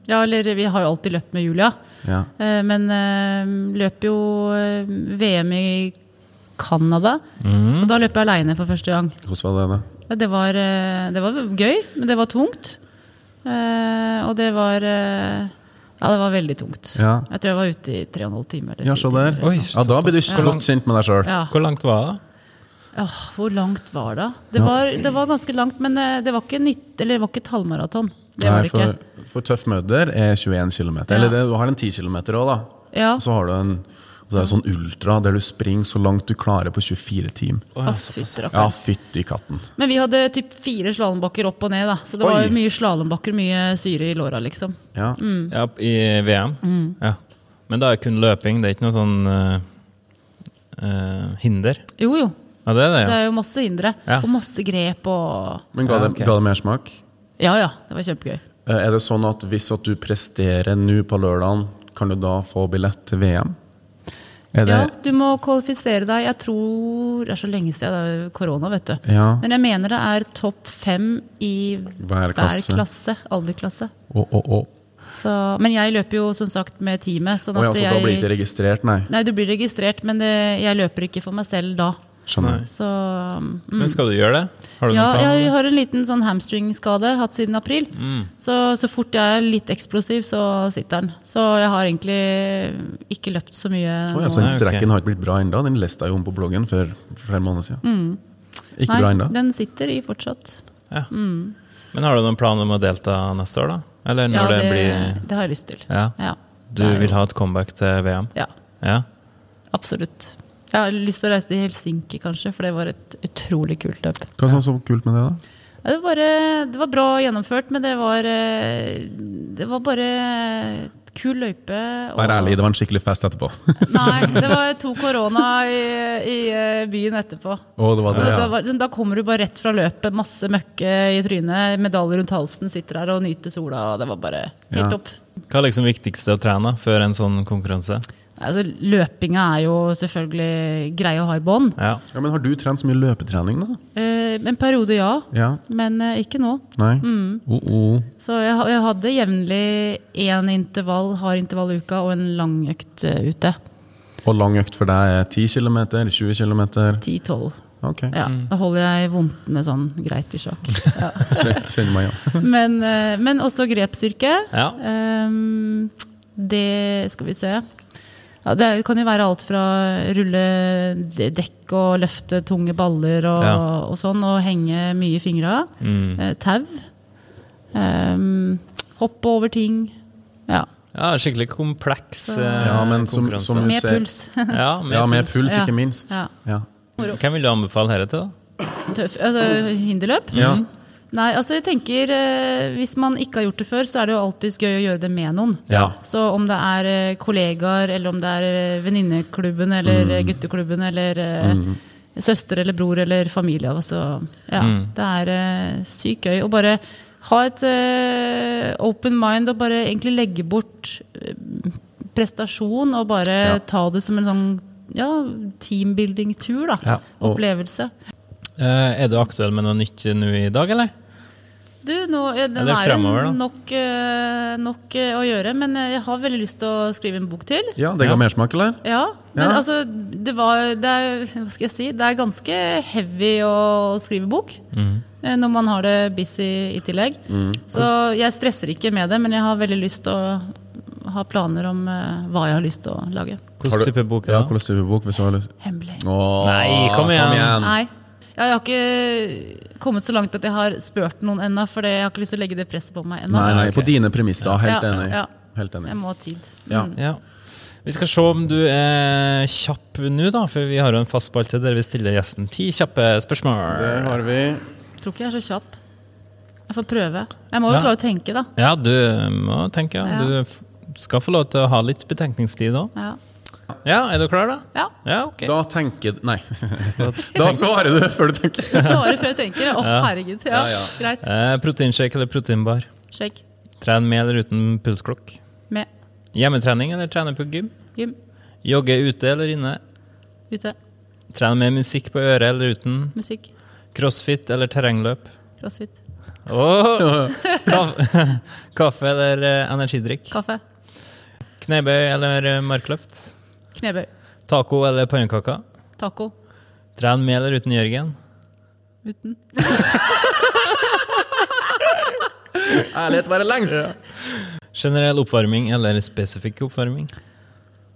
[SPEAKER 2] Ja, eller vi har jo alltid løpt med Julia.
[SPEAKER 3] Ja.
[SPEAKER 2] Eh, Men eh, løp jo eh, VM i Canada.
[SPEAKER 3] Mm.
[SPEAKER 2] Og da løp jeg aleine for første gang.
[SPEAKER 3] Hvordan var det? da?
[SPEAKER 2] Ja, Det var, eh, det var gøy, men det var tungt. Eh, og det var eh, Ja, det var veldig tungt.
[SPEAKER 3] Ja.
[SPEAKER 2] Jeg tror jeg var ute i tre og en halv time. Eller
[SPEAKER 3] Ja,
[SPEAKER 2] fire
[SPEAKER 3] se
[SPEAKER 2] timer,
[SPEAKER 3] der.
[SPEAKER 2] eller-
[SPEAKER 4] Oi,
[SPEAKER 3] Ja, da blir du
[SPEAKER 4] såpass.
[SPEAKER 3] godt kjent med deg sjøl.
[SPEAKER 2] Ja.
[SPEAKER 4] Hvor langt var det?
[SPEAKER 2] Åh, hvor langt var det? Det var, det var ganske langt, men eh, det var ikke, nitt, eller det var ikke et halvmaraton. Det var det ikke.
[SPEAKER 3] for, for tøff møder er 21 km. Eller det, du har en 10 km òg, da.
[SPEAKER 2] Ja.
[SPEAKER 3] Og så har du en og så er det sånn ultra der du springer så langt du klarer på 24 timer.
[SPEAKER 2] Å, fy rakker.
[SPEAKER 3] Ja, fytti katten.
[SPEAKER 2] Men vi hadde typ fire slalåmbakker opp og ned, da. Så det var
[SPEAKER 3] Oi.
[SPEAKER 2] jo mye slalåmbakker, mye syre i låra, liksom.
[SPEAKER 3] Ja.
[SPEAKER 4] Ja, I VM?
[SPEAKER 2] Mm.
[SPEAKER 4] Ja. Men da er det kun løping, det er ikke noe sånn eh, eh, hinder?
[SPEAKER 2] Jo, jo.
[SPEAKER 4] Ja, det er det,
[SPEAKER 2] Det
[SPEAKER 4] ja.
[SPEAKER 2] er jo masse hindre.
[SPEAKER 4] Ja.
[SPEAKER 2] Og masse grep og
[SPEAKER 3] Men ga
[SPEAKER 4] Ja,
[SPEAKER 3] det,
[SPEAKER 4] ok.
[SPEAKER 3] ga det mersmak?
[SPEAKER 2] Ja ja, det var kjempegøy.
[SPEAKER 3] Eh, Er det sånn at hvis at du presterer nå på lørdagen, kan du da få billett til VM? Er det
[SPEAKER 2] Ja, du må kvalifisere deg. Jeg tror Det er så lenge siden, det er jo korona, vet du.
[SPEAKER 3] Ja.
[SPEAKER 2] Men jeg mener det er topp fem i
[SPEAKER 3] hver klasse?
[SPEAKER 2] hver klasse. Alderklasse.
[SPEAKER 3] Å, å, å.
[SPEAKER 2] Så, men jeg løper jo som sagt med teamet. Sånn
[SPEAKER 3] Å
[SPEAKER 2] at
[SPEAKER 3] ja, så
[SPEAKER 2] jeg,
[SPEAKER 3] da blir ikke registrert, nei.
[SPEAKER 2] Nei, du blir registrert, men det, jeg løper ikke for meg selv da.
[SPEAKER 3] Skjønner.
[SPEAKER 2] Så mm.
[SPEAKER 4] Men skal du gjøre det? Har du
[SPEAKER 2] Ja,
[SPEAKER 4] noen plan?
[SPEAKER 2] jeg har en liten sånn hamstringskade hatt siden april.
[SPEAKER 3] Mm.
[SPEAKER 2] Så så fort jeg er litt eksplosiv, så sitter den. Så jeg har egentlig ikke løpt så mye.
[SPEAKER 3] Å ja,
[SPEAKER 2] nå.
[SPEAKER 3] så den
[SPEAKER 4] Nei, ok.
[SPEAKER 3] strekken har ikke blitt bra ennå. Den leste jeg jo om på bloggen for flere måneder siden. Ikke
[SPEAKER 2] Mm. Nei,
[SPEAKER 3] bra ennå.
[SPEAKER 2] den sitter i fortsatt.
[SPEAKER 4] Ja. Men har du noen plan om å delta neste år, da? Eller
[SPEAKER 2] Mm.
[SPEAKER 4] når
[SPEAKER 2] Ja, det,
[SPEAKER 4] det, blir
[SPEAKER 2] det har jeg lyst til.
[SPEAKER 4] Ja. Du
[SPEAKER 2] Det er jo-
[SPEAKER 4] vil ha et comeback til VM?
[SPEAKER 2] Ja,
[SPEAKER 4] Ja.
[SPEAKER 2] absolutt. Jeg har lyst til å reise til Helsinki, kanskje, for det var et utrolig kult løp.
[SPEAKER 3] Hva er det så kult med det, da?
[SPEAKER 2] Ja, Det var, bare, det var bra gjennomført, men det var, eh, det var bare kul løype. og-
[SPEAKER 3] Vær ærlig, det var en skikkelig fest etterpå.
[SPEAKER 2] Nei, det var to korona i, i eh, byen etterpå.
[SPEAKER 3] Å, det var det,
[SPEAKER 2] Da,
[SPEAKER 3] ja.
[SPEAKER 2] var, sånn, da kommer du bare rett fra løpet, masse møkke i trynet, medalje rundt halsen, sitter der og nyter sola. og Det var bare
[SPEAKER 3] Ja.
[SPEAKER 2] helt topp.
[SPEAKER 4] Hva er liksom viktigste å trene før en sånn konkurranse?
[SPEAKER 2] Altså, løpinga er jo selvfølgelig grei å ha i bånd.
[SPEAKER 4] Ja.
[SPEAKER 3] ja. Men har du trent så mye løpetrening, da?
[SPEAKER 2] Eh, en periode, ja.
[SPEAKER 3] Ja.
[SPEAKER 2] Men eh, ikke nå.
[SPEAKER 3] Nei?
[SPEAKER 2] Mm.
[SPEAKER 3] Oh, oh.
[SPEAKER 2] Så jeg, ha- jeg hadde jevnlig én intervall, hard intervall i uka og en lang økt eh, ute.
[SPEAKER 3] Og lang økt for deg er 10 km? 20 km?
[SPEAKER 2] 10-12.
[SPEAKER 3] Ok,
[SPEAKER 2] Ja, da holder jeg vondtene sånn greit i sjakk. Ja.
[SPEAKER 3] Kjen- kjenner meg igjen.
[SPEAKER 2] Men, eh, men også grepsstyrke.
[SPEAKER 4] Ja.
[SPEAKER 2] Ehm, det skal vi se. Ja, det kan jo være alt fra rulle de- dekk og løfte tunge baller og,
[SPEAKER 4] Ja.
[SPEAKER 2] og sånn, og henge mye i fingra. Eh, tau. Ehm, hoppe over ting. Ja.
[SPEAKER 4] ja, skikkelig kompleks eh,
[SPEAKER 3] Ja, men som-
[SPEAKER 4] konkurranse.
[SPEAKER 3] som-
[SPEAKER 2] Med
[SPEAKER 3] ser-
[SPEAKER 2] puls.
[SPEAKER 4] ja, med,
[SPEAKER 3] Ja, med
[SPEAKER 4] puls.
[SPEAKER 3] puls, ikke
[SPEAKER 2] Ja.
[SPEAKER 3] minst.
[SPEAKER 2] Ja.
[SPEAKER 3] Ja.
[SPEAKER 4] Hvem vil du anbefale dette til, da?
[SPEAKER 2] Tøff, altså, hinderløp?
[SPEAKER 3] Ja.
[SPEAKER 2] Nei, altså jeg tenker eh, Hvis man ikke har gjort det før, så er det jo alltid gøy å gjøre det med noen.
[SPEAKER 3] Ja.
[SPEAKER 2] Så om det er eh, kollegaer, eller om det er eh, venninneklubben, eller eh, gutteklubben, eller eh, søster eller bror eller familie. Altså, ja, Det er eh, sykt gøy å bare ha et eh, open mind og bare egentlig legge bort eh, prestasjon og bare
[SPEAKER 3] Ja.
[SPEAKER 2] ta det som en sånn ja, teambuilding-tur, da.
[SPEAKER 4] Ja,
[SPEAKER 3] og-
[SPEAKER 2] Opplevelse.
[SPEAKER 4] Eh, er du aktuell med noe nytt nå i dag, eller?
[SPEAKER 2] Du, nå, ja, den
[SPEAKER 4] Eller
[SPEAKER 2] er
[SPEAKER 4] fremover, da.
[SPEAKER 2] en nok, eh, nok eh, å gjøre, men eh, jeg har veldig lyst til å skrive en bok til.
[SPEAKER 3] ja, det ga
[SPEAKER 4] Ja.
[SPEAKER 3] mersmak, eller?
[SPEAKER 2] Ja, men
[SPEAKER 3] Ja.
[SPEAKER 2] altså, det var det er, Hva skal jeg si? Det er ganske heavy å skrive bok.
[SPEAKER 3] Mm.
[SPEAKER 2] eh, Når man har det busy i tillegg. Så jeg stresser ikke med det, men jeg har veldig lyst til å ha planer om eh, hva jeg har lyst til å lage.
[SPEAKER 3] Har
[SPEAKER 4] Hvilken
[SPEAKER 3] du-
[SPEAKER 4] type bok er
[SPEAKER 3] Ja,
[SPEAKER 4] det?
[SPEAKER 3] hvilken type bok? Hvis du har lyst.
[SPEAKER 2] Hemmelig.
[SPEAKER 3] Åh,
[SPEAKER 4] Nei, kom igjen.
[SPEAKER 2] Nei. Ja, jeg har ikke kommet så langt at jeg har spurt noen ennå, for det- jeg har ikke lyst til å legge det presset på meg ennå.
[SPEAKER 3] Nei, nei,
[SPEAKER 4] ok.
[SPEAKER 3] på dine premisser. Helt
[SPEAKER 2] Ja,
[SPEAKER 3] enig.
[SPEAKER 2] ja.
[SPEAKER 3] Helt enig.
[SPEAKER 2] Jeg må ha tid.
[SPEAKER 3] Ja.
[SPEAKER 4] Ja. Vi skal se om du er kjapp nå, da, for vi har jo en fast spalte der vi stiller gjesten ti kjappe
[SPEAKER 3] Det
[SPEAKER 4] spørsmål.
[SPEAKER 3] har vi.
[SPEAKER 2] Jeg tror ikke jeg er så kjapp. Jeg får prøve. Jeg må jo
[SPEAKER 4] Ja.
[SPEAKER 2] klare å tenke, da.
[SPEAKER 4] Ja, du må tenke. Ja.
[SPEAKER 2] Ja.
[SPEAKER 4] Du f- skal få lov til å ha litt betenkningstid òg.
[SPEAKER 2] Ja.
[SPEAKER 4] Ja, er du klar, da?
[SPEAKER 2] ja.
[SPEAKER 4] Ja, ok.
[SPEAKER 3] Da tenker Nei. Da svarer du før du tenker.
[SPEAKER 2] Svare før jeg tenker. Å, herregud. Ja,
[SPEAKER 3] Ja, ja.
[SPEAKER 2] Greit.
[SPEAKER 4] Eh, proteinshake eller proteinbar?
[SPEAKER 2] Shake.
[SPEAKER 4] Tren med eller uten pulsklokk?
[SPEAKER 2] Med.
[SPEAKER 4] Hjemmetrening eller trene på gym?
[SPEAKER 2] Gym.
[SPEAKER 4] Jogge ute eller inne?
[SPEAKER 2] Ute.
[SPEAKER 4] Trene med musikk på øret eller uten?
[SPEAKER 2] Musikk.
[SPEAKER 4] Crossfit eller terrengløp?
[SPEAKER 2] Crossfit.
[SPEAKER 4] Åh! Kaffe, kaffe eller eh, energidrikk?
[SPEAKER 2] Kaffe.
[SPEAKER 4] Knebøy eller eh, markløft?
[SPEAKER 2] Knebøy.
[SPEAKER 4] Taco eller pannekaker?
[SPEAKER 2] Taco.
[SPEAKER 4] Tren med eller uten Jørgen?
[SPEAKER 2] Uten.
[SPEAKER 3] Ærlighet være lengst.
[SPEAKER 4] Generell oppvarming eller spesifikk oppvarming?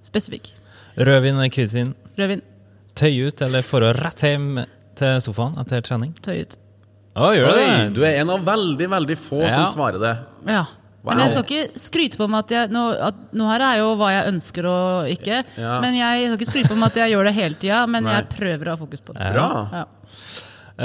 [SPEAKER 2] Spesifikk.
[SPEAKER 4] Rødvin eller hvitvin?
[SPEAKER 2] Rødvin.
[SPEAKER 4] Tøy ut eller få rett hjem til sofaen etter trening?
[SPEAKER 2] Tøy ut.
[SPEAKER 4] Å, gjør du det?
[SPEAKER 3] Oi, du er en av veldig, veldig få
[SPEAKER 4] Ja.
[SPEAKER 3] som svarer det.
[SPEAKER 2] Ja.
[SPEAKER 3] Wow.
[SPEAKER 2] Men jeg skal ikke skryte på meg at jeg nå, at, nå her er jo hva jeg ønsker og ikke.
[SPEAKER 3] Ja.
[SPEAKER 2] Men jeg skal ikke skryte på meg at jeg gjør det hele tida, men
[SPEAKER 3] Nei.
[SPEAKER 2] jeg prøver å ha fokus på det.
[SPEAKER 3] Bra.
[SPEAKER 2] Ja.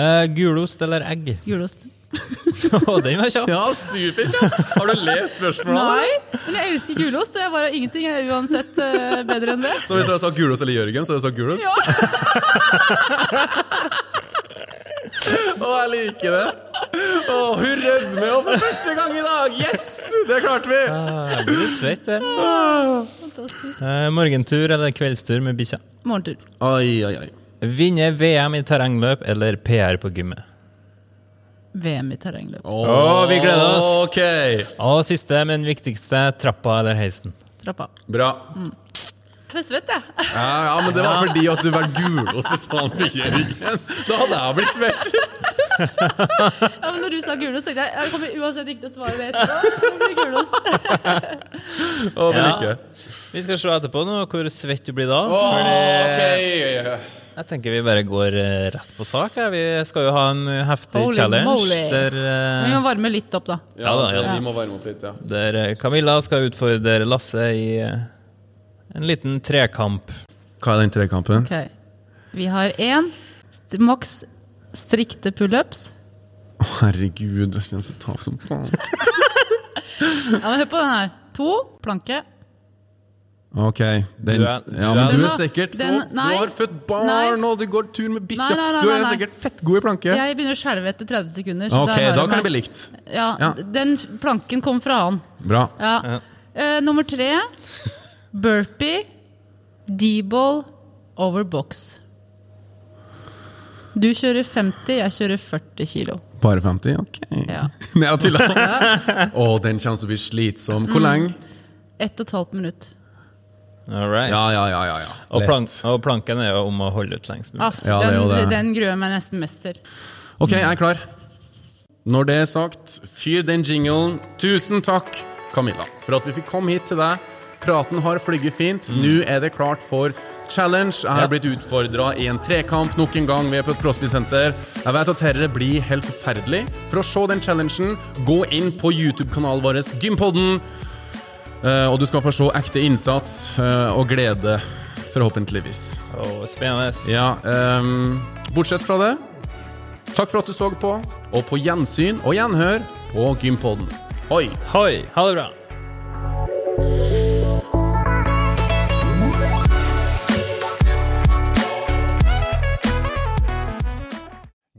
[SPEAKER 4] Eh, gulost eller egg?
[SPEAKER 2] Gulost.
[SPEAKER 4] Å, den var kjapp!
[SPEAKER 3] Ja, superkjapt! Har du lest spørsmålet?
[SPEAKER 2] Nei, men jeg elsker gulost, og jeg bare ingenting er uansett eh, bedre enn det.
[SPEAKER 3] Så hvis jeg sa Gulos eller Jørgen, så hadde jeg sagt Gulos?
[SPEAKER 2] Ja.
[SPEAKER 3] Å, jeg liker det! Å, hun rødmer jo for første gang i dag! Yes! Det klarte vi!
[SPEAKER 4] Jeg blir litt svett der. Eh, morgentur eller kveldstur med bikkja?
[SPEAKER 2] Morgentur.
[SPEAKER 3] Oi, oi, oi.
[SPEAKER 4] Vinne VM i terrengløp eller PR på gymmet?
[SPEAKER 2] VM i terrengløp.
[SPEAKER 4] Å, vi gleder oss.
[SPEAKER 3] Ok,
[SPEAKER 4] Og siste, men viktigste, trappa eller heisen?
[SPEAKER 2] Trappa.
[SPEAKER 3] bra.
[SPEAKER 2] Jeg er svett, jeg.
[SPEAKER 3] Ja, ja, men det var fordi at du var gulost og sa han fikk Jørgen. Da hadde jeg blitt svett.
[SPEAKER 2] Ja, men når du sa gulost, tenkte jeg jeg kommer uansett ikke til å svare det etterpå. Det blir gulost.
[SPEAKER 3] Å, det
[SPEAKER 4] Ja.
[SPEAKER 3] liker jeg.
[SPEAKER 4] Vi skal se etterpå nå hvor svett du blir da.
[SPEAKER 3] Å,
[SPEAKER 4] Fordi
[SPEAKER 3] ok.
[SPEAKER 4] jeg tenker vi bare går eh, rett på sak. her. Vi skal jo ha en eh, heftig
[SPEAKER 2] Holy
[SPEAKER 4] challenge
[SPEAKER 2] moly. Mm.
[SPEAKER 4] der, eh,
[SPEAKER 2] Vi må varme litt opp, da.
[SPEAKER 4] Ja da, ja da.
[SPEAKER 3] Vi må varme opp litt, ja.
[SPEAKER 4] der eh, Camilla skal utfordre Lasse i eh, en liten trekamp.
[SPEAKER 3] Hva er den trekampen?
[SPEAKER 2] Ok. Vi har én st- maks strikte pullups.
[SPEAKER 3] Herregud, jeg synes jeg tar som faen.
[SPEAKER 2] Ja, men hør på den her. To. Planke.
[SPEAKER 3] Ok. Den,
[SPEAKER 4] Du er-
[SPEAKER 3] ja,
[SPEAKER 4] du
[SPEAKER 3] men du
[SPEAKER 4] er-
[SPEAKER 3] er
[SPEAKER 2] Den har-
[SPEAKER 3] sikkert så
[SPEAKER 2] den- nei.
[SPEAKER 3] Du har født barn,
[SPEAKER 2] Nei.
[SPEAKER 3] og du går tur med bikkja.
[SPEAKER 2] Nei, nei, nei,
[SPEAKER 3] Du er
[SPEAKER 2] nei, nei.
[SPEAKER 3] sikkert fettgod i planke.
[SPEAKER 2] Jeg begynner å skjelve etter 30 sekunder. så
[SPEAKER 3] ok,
[SPEAKER 2] der har
[SPEAKER 3] da
[SPEAKER 2] du
[SPEAKER 3] kan det
[SPEAKER 2] meg.
[SPEAKER 3] bli likt.
[SPEAKER 2] ja,
[SPEAKER 3] Ja.
[SPEAKER 2] Den f- planken kom fra han.
[SPEAKER 3] Bra.
[SPEAKER 2] Ja. Eh, nummer tre. Burpee. D-ball over box. Du kjører 50, jeg kjører 40 kilo.
[SPEAKER 3] Bare 50? Ok.
[SPEAKER 2] Ja.
[SPEAKER 3] Nei, jeg tuller. Å, den kommer til å bli slitsom. Hvor
[SPEAKER 2] Mm.
[SPEAKER 3] lenge?
[SPEAKER 2] Ett og et halvt minutt.
[SPEAKER 4] All right.
[SPEAKER 3] Ja, ja, ja. ja, ja.
[SPEAKER 4] og,
[SPEAKER 3] Lett.
[SPEAKER 4] plank, og planken er jo om å holde ut lengst mulig.
[SPEAKER 2] Aff,
[SPEAKER 3] Ja, det er jo
[SPEAKER 2] Ah, den,
[SPEAKER 3] det.
[SPEAKER 2] den gruer jeg meg nesten mest til.
[SPEAKER 3] Ok, jeg er klar. Når det er sagt, fyr den jinglen. Tusen takk, Camilla, for at vi fikk komme hit til deg. Praten har flyget fint. Nå er det klart for challenge. Jeg har
[SPEAKER 4] Ja.
[SPEAKER 3] blitt utfordra i en trekamp nok en gang. Vi er på et CrossFit-senter. Jeg vet at dette blir helt forferdelig. For å se den challengen, gå inn på YouTube-kanalen vår Gympodden. Eh, Og du skal få se ekte innsats eh, og glede, forhåpentligvis.
[SPEAKER 4] Og spennende.
[SPEAKER 3] Ja, ehm, bortsett fra det, takk for at du så på, og på gjensyn og gjenhør på Gympodden. Oi!
[SPEAKER 4] Hoi! Ha det bra.